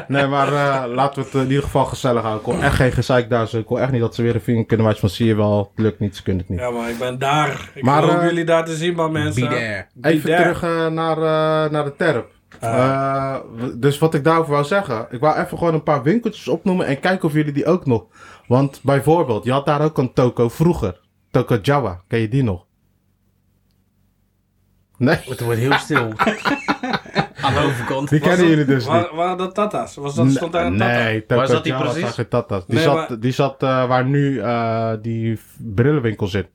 Speaker 2: nee, maar eh, laten we het in ieder geval gezellig houden. Ik kon echt geen gezeik daar. zo. Ik kon echt niet dat ze weer een vinger kunnen wijzen van... Zie je wel, het lukt niet, ze kunnen het niet.
Speaker 3: ja, maar ik ben daar. Ik
Speaker 2: Maar,
Speaker 3: hoop
Speaker 2: eh,
Speaker 3: jullie daar te zien, maar mensen.
Speaker 4: Be there.
Speaker 3: Be
Speaker 2: Even
Speaker 3: there.
Speaker 2: terug eh, naar, eh, naar de terp. Eh, w- dus wat ik daarover wou zeggen. Ik wou even gewoon een paar winkeltjes opnoemen en kijken of jullie die ook nog. Want bijvoorbeeld, je had daar ook een toko vroeger. Toko Jawa, ken je die nog? Nee,
Speaker 4: Het wordt heel stil. Aan de overkant.
Speaker 2: die kennen
Speaker 3: dat-
Speaker 2: jullie dus niet.
Speaker 3: Waar, waren dat Tata's? Was dat, stond daar een Tata?
Speaker 2: Nee, Toko
Speaker 4: Waar zat die
Speaker 2: Jawa
Speaker 4: precies?
Speaker 2: zag je Tata's. Die
Speaker 3: Nee,
Speaker 2: zat,
Speaker 3: maar-
Speaker 2: die zat eh, waar nu eh, die v- brillenwinkel zit.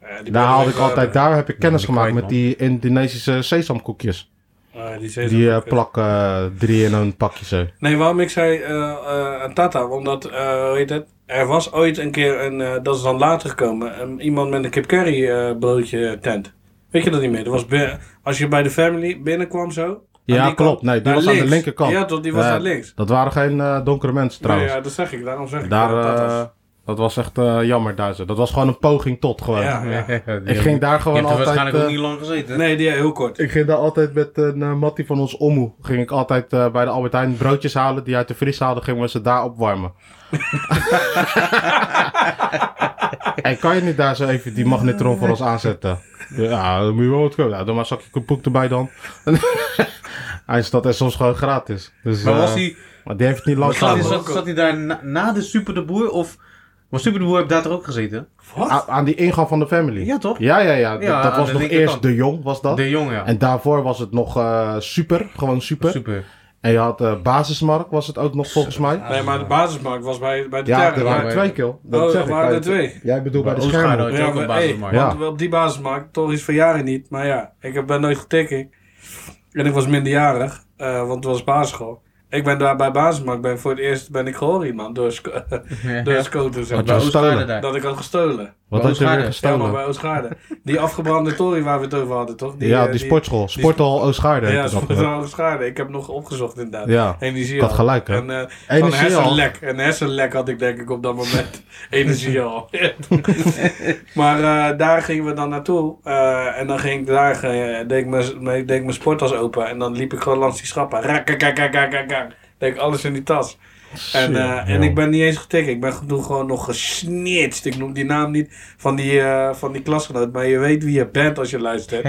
Speaker 3: Ja, die
Speaker 2: Daar haalde ik
Speaker 3: waren-
Speaker 2: altijd, daar heb ik kennis
Speaker 4: die
Speaker 2: gemaakt
Speaker 4: kwijt,
Speaker 2: met
Speaker 4: man.
Speaker 2: die Indonesische sesamkoekjes.
Speaker 3: Ah, die
Speaker 2: Die
Speaker 3: zeven
Speaker 2: eh,
Speaker 3: pakken.
Speaker 2: plakken eh, drie in een pakje zo.
Speaker 3: Nee, waarom ik zei eh, eh, een Tata? Omdat, eh, hoe heet het? Er was ooit een keer, een, eh, dat is dan later gekomen, een- iemand met een kip curry eh, broodje tent. Weet je dat niet meer? Dat was be- als je bij de family binnenkwam zo. aan die
Speaker 2: Ja,
Speaker 3: kant,
Speaker 2: klopt. Nee, die
Speaker 3: naar
Speaker 2: was aan de
Speaker 3: links.
Speaker 2: linkerkant.
Speaker 3: Ja, toch, die was
Speaker 2: Ja,
Speaker 3: naar links.
Speaker 2: Dat waren geen eh, donkere mensen trouwens.
Speaker 3: Nee, ja, dat zeg ik. Daarom zeg ik
Speaker 2: Daar,
Speaker 3: eh,
Speaker 2: eh,
Speaker 3: Tata's.
Speaker 2: dat was echt eh, jammer daar zo. Dat was gewoon een poging tot gewoon.
Speaker 3: Ja, ja.
Speaker 2: Ik ging daar
Speaker 4: Je
Speaker 2: gewoon
Speaker 4: hebt er
Speaker 2: altijd...
Speaker 4: waarschijnlijk ook
Speaker 2: eh,
Speaker 4: niet lang gezeten.
Speaker 3: Nee, die heel kort.
Speaker 2: ik ging daar altijd met een eh, mattie van ons omhoe. Ging ik altijd eh, bij de Albert Heijn broodjes halen. Die uit de vries haalden, gingen we ze daar opwarmen. en kan je niet daar zo even die magnetron voor ons aanzetten? Ja, dan moet je wel wat kunnen. Nou, doe maar een zakje koek erbij dan. Hij is dat is soms gewoon gratis. Dus,
Speaker 4: Maar
Speaker 2: eh,
Speaker 4: was hij...
Speaker 2: Maar die heeft het niet
Speaker 4: Maar
Speaker 2: lang
Speaker 4: zat,
Speaker 2: gedaan.
Speaker 4: hij-
Speaker 2: hoor.
Speaker 4: zat, zat hij daar na, na de Super de Boer of... Maar Super de Boer heeft daar toch ook gezeten?
Speaker 2: A- Aan die ingang van de family.
Speaker 4: Ja, toch?
Speaker 2: Ja, ja, ja.
Speaker 4: Ja,
Speaker 2: dat dat
Speaker 4: aan
Speaker 2: was
Speaker 4: de
Speaker 2: nog
Speaker 4: linkerkant.
Speaker 2: eerst De Jong, was dat.
Speaker 4: De jongen, ja.
Speaker 2: En daarvoor was het nog eh, super, gewoon super.
Speaker 4: Super.
Speaker 2: En je had eh, basismarkt, was het ook nog volgens mij.
Speaker 3: Ah, Nee, maar de basismarkt was bij, bij de
Speaker 2: Ja,
Speaker 3: terren.
Speaker 2: er waren
Speaker 4: maar-
Speaker 2: twee kill.
Speaker 3: Oh,
Speaker 2: Dat
Speaker 3: er
Speaker 2: zeg ik.
Speaker 3: waren
Speaker 2: Bij
Speaker 3: er
Speaker 2: de-
Speaker 3: twee.
Speaker 2: Jij bedoelt bij de
Speaker 4: Oost-Gaarde
Speaker 2: schermen.
Speaker 4: had je
Speaker 3: Ja,
Speaker 4: ook een
Speaker 3: maar, hey,
Speaker 4: basismarkt.
Speaker 2: Ja.
Speaker 3: want op die basismarkt, toch is van jaren niet, maar ja, ik heb- ben nooit getekend. En ik was minderjarig, eh, want het was basisschool. Ik ben daar bij basismarkt, ben, voor het eerst ben ik gehoord, man, door, sco door scooters. en
Speaker 2: Had je
Speaker 3: dat-
Speaker 4: Bij Oost-Gaarde
Speaker 2: gestolen?
Speaker 4: daar.
Speaker 3: Dat ik had gestolen.
Speaker 2: Wat had je
Speaker 4: Oost-Gaarde.
Speaker 2: weer
Speaker 3: Ja, maar
Speaker 2: gestolen?
Speaker 3: bij Oostgaarde. Die afgebrande tory waar we het over hadden, toch?
Speaker 2: Ja,
Speaker 3: eh,
Speaker 2: die sportschool. Sporthal Oost-Gaarde
Speaker 3: Ja,
Speaker 2: heette dat.
Speaker 3: sportschool Oostgaarde. Ik heb nog opgezocht inderdaad.
Speaker 2: Ja,
Speaker 3: Energie
Speaker 2: ik had gelijk, hè.
Speaker 3: En, eh, van
Speaker 2: Energie
Speaker 3: hersenlek. Een hersenlek had ik denk ik op dat moment. Energie al. maar eh, daar gingen we dan naartoe. eh, en dan ging ik daar, eh, deed, ik mijn, nee, deed ik mijn sporttas open. En dan liep ik gewoon langs die schappen. Rak, rak, rak, rak, rak, rak, rak. Deed ik alles in die tas. En, eh, en ik ben niet eens getikt. Ik ben toen gewoon nog gesnitcht. Ik noem die naam niet van die, eh, van die klasgenoot. Maar je weet wie je bent als je luistert.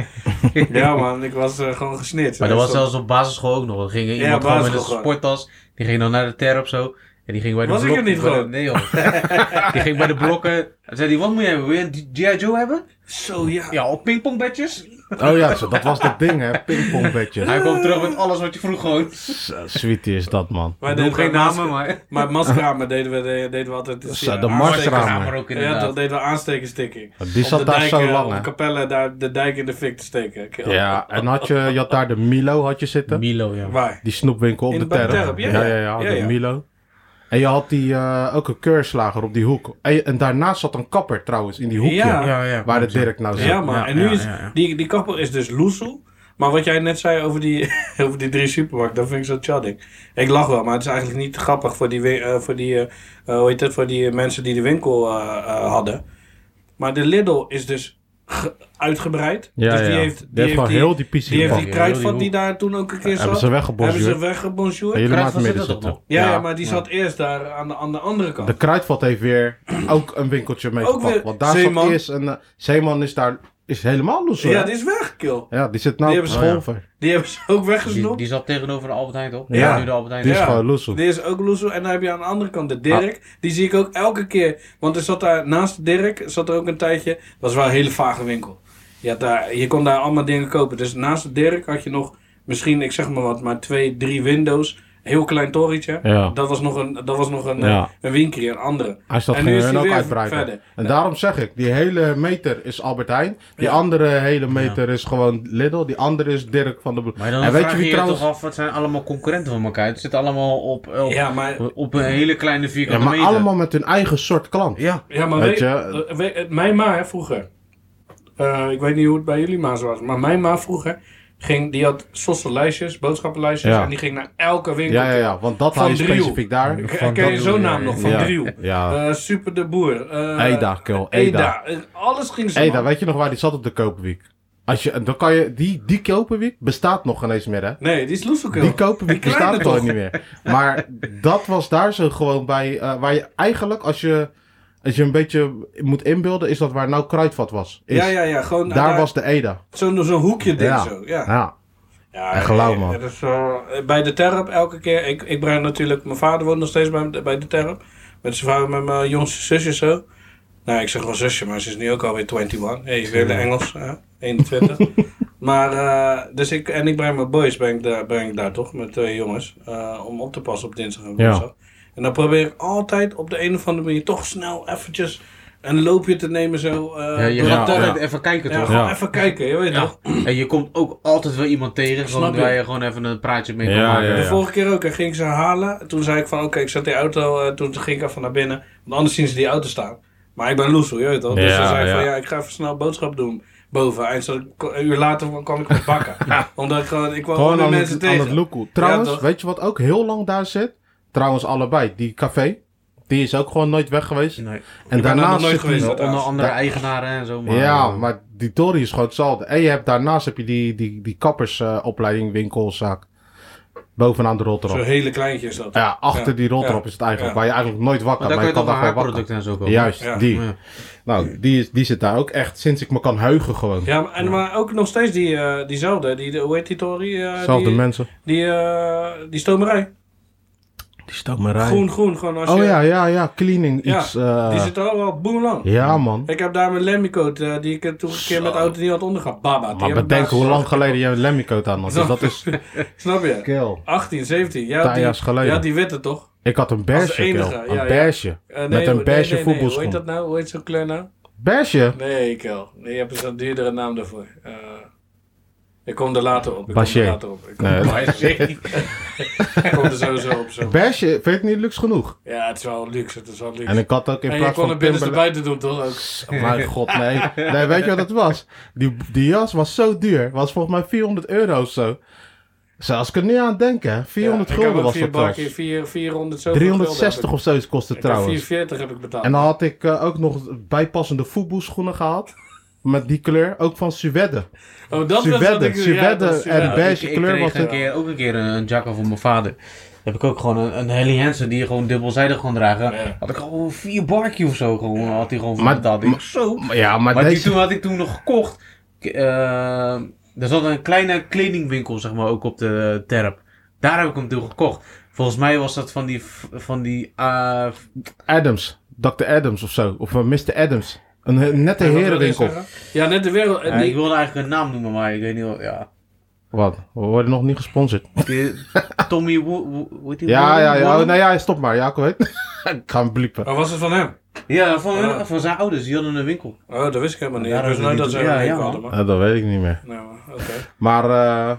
Speaker 3: ja man, ik was eh, gewoon gesnitcht.
Speaker 4: Maar dat
Speaker 3: En
Speaker 4: was
Speaker 3: zo-
Speaker 4: zelfs op basisschool ook nog. Er ging iemand gewoon met een
Speaker 3: basisschool gewoon.
Speaker 4: sporttas. Die ging dan naar de ter of zo. En die ging bij de
Speaker 3: Was ik er
Speaker 4: blokken.
Speaker 3: niet
Speaker 4: bij de-
Speaker 3: gewoon?
Speaker 4: Nee joh. die ging bij de blokken. En zei die, wat moet je hebben? Wil je een G.I. Joe hebben?
Speaker 3: Zo ja.
Speaker 4: Ja, op pingpongbedjes.
Speaker 2: Oh ja, zo, dat was dat ding, hè. Pingpongbedje.
Speaker 4: Hij kwam terug met alles wat je vroeg gewoon.
Speaker 2: Zo, Sweetie is dat, man.
Speaker 3: Wij
Speaker 4: Ik noem
Speaker 3: deden
Speaker 4: geen
Speaker 3: bij
Speaker 4: namen,
Speaker 3: masker-
Speaker 4: maar...
Speaker 3: Maar maskeramen deden we, deden, deden we altijd.
Speaker 2: Zo,
Speaker 3: ja,
Speaker 2: de
Speaker 3: aanstekers-
Speaker 2: maskeramen.
Speaker 4: Ja, maar ook
Speaker 3: Ja,
Speaker 4: inderdaad.
Speaker 3: dat deden we aanstekerstikking.
Speaker 2: Die
Speaker 3: Op de
Speaker 2: zat daar
Speaker 3: dijk,
Speaker 2: zo
Speaker 3: eh,
Speaker 2: lang,
Speaker 3: Op
Speaker 2: hè.
Speaker 3: Capelle daar de dijk in de fik te steken. Kill.
Speaker 2: Ja, en had je, je had daar de Milo had je zitten.
Speaker 4: Milo, ja.
Speaker 3: Waar?
Speaker 2: Die snoepwinkel op
Speaker 3: In
Speaker 2: de,
Speaker 3: de- bij de
Speaker 2: terp.
Speaker 3: terp, ja,
Speaker 2: ja,
Speaker 3: ja.
Speaker 2: ja,
Speaker 3: Ja,
Speaker 2: de
Speaker 3: ja.
Speaker 2: Milo. En je had die, eh, ook een keurslager op die hoek. En, je- en daarnaast zat een kapper trouwens, in die hoekje.
Speaker 3: Ja.
Speaker 4: Ja, ja.
Speaker 2: Waar de
Speaker 4: klopt, ja.
Speaker 2: Dirk nou zat.
Speaker 3: Ja, man.
Speaker 4: Ja,
Speaker 3: en nu
Speaker 4: ja,
Speaker 3: is
Speaker 4: ja, ja.
Speaker 3: Die, die kapper is dus loesoe. Maar wat jij net zei over die, over die drie supermarkten, dat vind ik zo chadding. Ik lach wel, maar het is eigenlijk niet grappig voor die, wi- eh, voor die, eh, eh, hoe heet het, voor die mensen die de winkel eh, eh, hadden. Maar de Lidl is dus ge- uitgebreid.
Speaker 2: Ja,
Speaker 3: dus die
Speaker 2: ja.
Speaker 3: heeft,
Speaker 2: Die heeft gewoon heel die pissie
Speaker 3: Die heeft die
Speaker 2: gepakt.
Speaker 4: Ja, heel die
Speaker 3: kruidvat die
Speaker 4: hoek.
Speaker 3: daar toen ook een keer
Speaker 2: Hebben
Speaker 3: zat.
Speaker 2: ze weggebonjourd.
Speaker 3: Hebben ze weggebonjourd.
Speaker 2: En jullie maakten
Speaker 4: Kruidvat zit
Speaker 2: midden
Speaker 4: er toch
Speaker 2: zitten.
Speaker 4: nog?
Speaker 3: Ja, ja, maar die zat eerst daar aan de, aan de andere kant.
Speaker 2: De Kruidvat heeft weer ook een winkeltje meegepakt.
Speaker 3: weer
Speaker 2: want daar
Speaker 3: Zeeman.
Speaker 2: zat eerst een... eh, Zeeman is daar is helemaal los. hoor.
Speaker 3: ja, die is weg, kill.
Speaker 2: Ja, die zit nou
Speaker 3: die
Speaker 2: op
Speaker 3: hebben
Speaker 2: school.
Speaker 3: ze- Die hebben ze ook
Speaker 4: Die,
Speaker 3: weggesnopt. Die,
Speaker 4: die zat tegenover de Albert Heijn, toch?
Speaker 2: Ja.
Speaker 4: Nu de Albert Heijn.
Speaker 2: Die is
Speaker 3: Ja.
Speaker 2: gewoon Ah. los. hoor.
Speaker 3: is ook loezo. En dan heb je aan de andere kant de Dirk. Die zie ik ook elke keer. Want er zat daar naast Dirk, zat er ook een tijdje. Dat was wel een hele vage winkel. Je, had daar, je kon daar allemaal dingen kopen. Dus naast Dirk had je nog misschien, ik zeg maar wat, maar twee, drie windows. heel klein torentje.
Speaker 2: Ja.
Speaker 3: Dat was nog een, dat was nog een,
Speaker 2: Ja.
Speaker 3: eh, een winkelje, een andere.
Speaker 2: Hij staat
Speaker 3: en nu
Speaker 2: ging
Speaker 3: is
Speaker 2: hun
Speaker 3: hij
Speaker 2: ook
Speaker 3: weer
Speaker 2: uitbreiden.
Speaker 3: verder.
Speaker 2: En daarom zeg ik, die hele meter is Albert Heijn. Die
Speaker 3: Ja.
Speaker 2: andere hele meter is gewoon Lidl. Die andere is Dirk van der Broek.
Speaker 4: Maar dan
Speaker 2: En weet
Speaker 4: vraag
Speaker 2: je
Speaker 4: je
Speaker 2: wie
Speaker 4: je
Speaker 2: trouwens...
Speaker 4: toch af, wat zijn allemaal concurrenten van elkaar? Het zit allemaal op, op,
Speaker 3: Ja, maar,
Speaker 4: op een hele kleine
Speaker 2: Ja,
Speaker 4: vierkante
Speaker 2: maar
Speaker 4: meter.
Speaker 2: allemaal met hun eigen soort klant.
Speaker 4: Ja.
Speaker 3: ja, maar
Speaker 2: Weet
Speaker 3: weet,
Speaker 2: je-
Speaker 3: eh, weet- eh, mijn ma hè, vroeger. Eh, ik weet niet hoe het bij jullie ma's was, maar mijn ma vroeger ging, die had sosse lijstjes, boodschappenlijstjes,
Speaker 2: Ja.
Speaker 3: en die ging naar elke winkel.
Speaker 2: Ja, ja, ja. Want dat
Speaker 3: Van
Speaker 2: haal je
Speaker 3: Driehoek.
Speaker 2: specifiek daar.
Speaker 3: Ik-
Speaker 4: Van
Speaker 3: Ken je
Speaker 4: dat
Speaker 3: zo'n
Speaker 4: doe je,
Speaker 3: naam nog? Van
Speaker 2: ja.
Speaker 3: Driehoek.
Speaker 2: Ja.
Speaker 3: Eh, Super de Boer. eh,
Speaker 2: Eda, kill. Eda.
Speaker 3: Eda. Eh, Alles ging zo.
Speaker 2: Eda,
Speaker 3: man.
Speaker 2: weet je nog waar die zat op de Koperwiek? Als je, dan kan je, die, die Koperwiek bestaat nog ineens meer, hè?
Speaker 3: Nee, die is Loeselkill.
Speaker 2: Die Koperwiek
Speaker 3: Die
Speaker 2: bestaat
Speaker 3: kleine
Speaker 2: toch
Speaker 3: toch?
Speaker 2: niet meer. Maar dat was daar zo gewoon bij, eh, waar je eigenlijk, als je, als je een beetje moet inbeelden, is dat waar nou Kruidvat was. Is.
Speaker 3: Ja, Nou, ja, ja. Gewoon,
Speaker 2: Daar was de Eda.
Speaker 3: Zo'n zo'n hoekje ding
Speaker 2: Ja.
Speaker 3: zo. Ja.
Speaker 2: Ja.
Speaker 3: Ja,
Speaker 2: En gelauw, man.
Speaker 3: eh, dat is, eh, bij de terp elke keer. Ik, ik breng natuurlijk... Mijn vader woont nog steeds bij, bij de terp. Met zijn vader, met mijn jongste zusje zo. Nou, ik zeg wel zusje, maar ze is nu ook alweer 21. Hey, ik wil de Engels. hè, 21. maar, eh, dus ik... En ik breng mijn boys breng ik daar, breng ik daar toch. Met twee jongens. eh, om op te passen op dinsdag en
Speaker 2: Ja.
Speaker 3: woensdag. En dan probeer ik altijd op de een of andere manier toch snel eventjes... Een loopje te nemen zo. eh,
Speaker 4: Ja, je
Speaker 3: door
Speaker 4: gaat
Speaker 3: de terp.
Speaker 4: altijd even kijken
Speaker 3: Ja,
Speaker 4: toch?
Speaker 3: gewoon
Speaker 2: Ja.
Speaker 3: even kijken, je weet
Speaker 4: Ja.
Speaker 3: toch?
Speaker 4: En je komt ook altijd wel iemand tegen
Speaker 3: Snap
Speaker 4: gewoon,
Speaker 3: je.
Speaker 4: waar je gewoon even een praatje mee kan
Speaker 2: Ja,
Speaker 4: maken.
Speaker 2: ja,
Speaker 3: De
Speaker 2: ja.
Speaker 3: vorige keer ook, hè, ging ik ze halen. Toen zei ik van, oké, ik zet die auto, eh, toen ging ik even naar binnen. Want anders zien ze die auto staan. Maar ik ben loesel, je weet toch? Dus
Speaker 2: Ja,
Speaker 3: toen zei ik van,
Speaker 2: ja.
Speaker 3: ja, ik ga even snel boodschap doen boven. En zo, een uur later kwam ik met bakken. Omdat ik gewoon, ik kwam
Speaker 2: Gewoon
Speaker 3: gewoon
Speaker 2: aan
Speaker 3: mensen
Speaker 2: het, aan
Speaker 3: tegen.
Speaker 2: het loekoe. Trouwens,
Speaker 3: toch?
Speaker 2: weet je wat ook heel lang daar zit? Trouwens, allebei. Die café, die is ook gewoon nooit weg geweest.
Speaker 4: Nee.
Speaker 2: En
Speaker 3: Ik ben daar nog
Speaker 2: daarnaast
Speaker 3: nooit
Speaker 2: zit die-
Speaker 3: geweest.
Speaker 4: Onder andere
Speaker 2: Daar-
Speaker 4: eigenaren en zo. Maar,
Speaker 2: ja,
Speaker 4: eh,
Speaker 2: maar die Tory is gewoon hetzelfde. En je hebt, daarnaast heb je die, die, die kappersopleiding winkelzaak. Bovenaan de
Speaker 3: Zo'n
Speaker 2: roltrap.
Speaker 3: hele kleintje is dat.
Speaker 2: Ja, achter
Speaker 3: Ja,
Speaker 2: die roltrap
Speaker 3: ja,
Speaker 2: is het eigenlijk.
Speaker 3: ja.
Speaker 2: Waar je eigenlijk nooit wakker
Speaker 4: Maar daar kan je toch wel
Speaker 2: daar gewoon
Speaker 4: haarproducten en zo kopen.
Speaker 2: wakker. Juist,
Speaker 3: Ja.
Speaker 2: die.
Speaker 4: Ja.
Speaker 2: Nou, die, is, die zit daar ook echt sinds ik me kan heugen gewoon.
Speaker 3: Ja, maar, en, maar ook nog steeds die, eh, diezelfde, die, de- hoe heet die Tory? eh,
Speaker 2: Zelfde
Speaker 3: die,
Speaker 2: mensen.
Speaker 3: Die, eh, die stomerij.
Speaker 2: Die stoot me rij.
Speaker 3: Groen, groen, gewoon als
Speaker 2: Oh
Speaker 3: je...
Speaker 2: ja, ja, ja. Cleaning iets. Ja,
Speaker 3: Die zit er al wel boemlang.
Speaker 2: ja man.
Speaker 3: Ik heb daar mijn Lemmycoat, eh, die ik eh, toen een keer met de auto niet had ondergaan. Baba. die
Speaker 2: Maar
Speaker 3: heb ik
Speaker 2: bedenk
Speaker 3: daar
Speaker 2: hoe lang
Speaker 3: geslagen.
Speaker 2: geleden je een lemmycoat aan had. Dus
Speaker 3: Zo.
Speaker 2: dat is
Speaker 3: Snap je?
Speaker 2: kill.
Speaker 3: 18, 17. Ja,
Speaker 2: Tien
Speaker 3: die,
Speaker 2: jaar geleden.
Speaker 3: Ja, die witte toch?
Speaker 2: Ik had een beige, kill.
Speaker 3: enige, ja,
Speaker 2: Een
Speaker 3: ja.
Speaker 2: beige.
Speaker 3: Eh, nee,
Speaker 2: Met
Speaker 3: nee,
Speaker 2: een
Speaker 3: nee,
Speaker 2: beige
Speaker 3: nee, nee. Hoe heet
Speaker 2: voetbalschoen.
Speaker 3: dat nou? Hoe heet zo'n kleur nou?
Speaker 2: Beige?
Speaker 3: Nee, Kel. Nee, je hebt zo'n duurdere naam daarvoor. Eh, ik kom er later op. Ik kom
Speaker 2: Bachier.
Speaker 3: er later op. Ik kom,
Speaker 2: Nee,
Speaker 4: Maar hij zegt niet.
Speaker 3: ik kom er sowieso op. Zo.
Speaker 2: Beige vind ik niet luxe genoeg.
Speaker 3: Ja, het is wel luxe. Het is wel luxe.
Speaker 2: En ik had ook in
Speaker 3: En je
Speaker 2: plaats
Speaker 3: kon
Speaker 2: van
Speaker 3: het binnenste
Speaker 2: Timberland...
Speaker 3: buiten doen toch ook?
Speaker 2: Oh Mijn god, nee. Nee, weet je wat het was? Die, die jas was zo duur. Was volgens mij 400 euro of zo. Zelfs ik er niet aan denken. 400
Speaker 3: Ja,
Speaker 2: gulden was dat
Speaker 3: Ik heb ook vier
Speaker 2: trouwens.
Speaker 3: bakje, vier, 400 zoveel gulden
Speaker 2: 360 of zo kostte
Speaker 3: heb
Speaker 2: het
Speaker 3: ik. Ik heb
Speaker 2: trouwens.
Speaker 3: 440 heb ik betaald.
Speaker 2: En dan had ik eh, ook nog bijpassende voetbalschoenen gehad. Met die kleur. Ook van Suède.
Speaker 3: oh, dat was wat
Speaker 2: Suède,
Speaker 3: ik... ja,
Speaker 2: Suède
Speaker 3: dat is-
Speaker 2: en
Speaker 3: ja.
Speaker 2: beige
Speaker 4: ik,
Speaker 2: kleur
Speaker 4: kreeg
Speaker 2: was
Speaker 4: een
Speaker 2: het.
Speaker 4: keer, ook een keer een, een jacka van mijn vader. Heb ik ook gewoon een, een Helly Hansen die je gewoon dubbelzijdig kon dragen.
Speaker 3: Ja.
Speaker 4: Had ik gewoon vier barkie of zo gewoon, had hij gewoon
Speaker 2: Maar-
Speaker 4: van betaald. Ik, zo.
Speaker 2: Maar Ja, maar,
Speaker 4: Maar die
Speaker 2: deze...
Speaker 4: toen had ik toen nog gekocht. K- eh, er zat een kleine kledingwinkel, zeg maar, ook op de terp. Daar heb ik hem toen gekocht. Volgens mij was dat van die. f- Van die eh, f-
Speaker 2: Adams. Dr. Adams of zo. Of eh, Mr. Adams. Een he- nette
Speaker 3: En wat
Speaker 2: herenwinkel.
Speaker 3: wil je zeggen? Ja, net de wereld. en
Speaker 4: eh, ik
Speaker 3: die,
Speaker 4: wilde eigenlijk een naam noemen, maar ik weet niet wat. Ja.
Speaker 2: Wat? We worden nog niet gesponsord.
Speaker 4: Die- Tommy Wo- Wo- hoe heet die?
Speaker 2: Ja, ja, ja.
Speaker 4: Wo-
Speaker 2: Oh, nee, ja, stop maar. Ja, ik weet. ik ga hem bliepen.
Speaker 3: maar Oh, was het van hem?
Speaker 4: Ja, van, hun-
Speaker 3: Ja.
Speaker 4: van zijn ouders. Die hadden een winkel.
Speaker 3: Oh, dat wist ik helemaal niet.
Speaker 4: Ja,
Speaker 3: Ik wist
Speaker 4: dat
Speaker 3: nooit
Speaker 4: is
Speaker 3: dat ze
Speaker 4: niet-
Speaker 3: een
Speaker 4: ja,
Speaker 3: winkel
Speaker 4: ja,
Speaker 3: hadden. man.
Speaker 2: Eh, dat weet ik niet meer.
Speaker 3: Nou, maar, oké.
Speaker 2: Maar, eh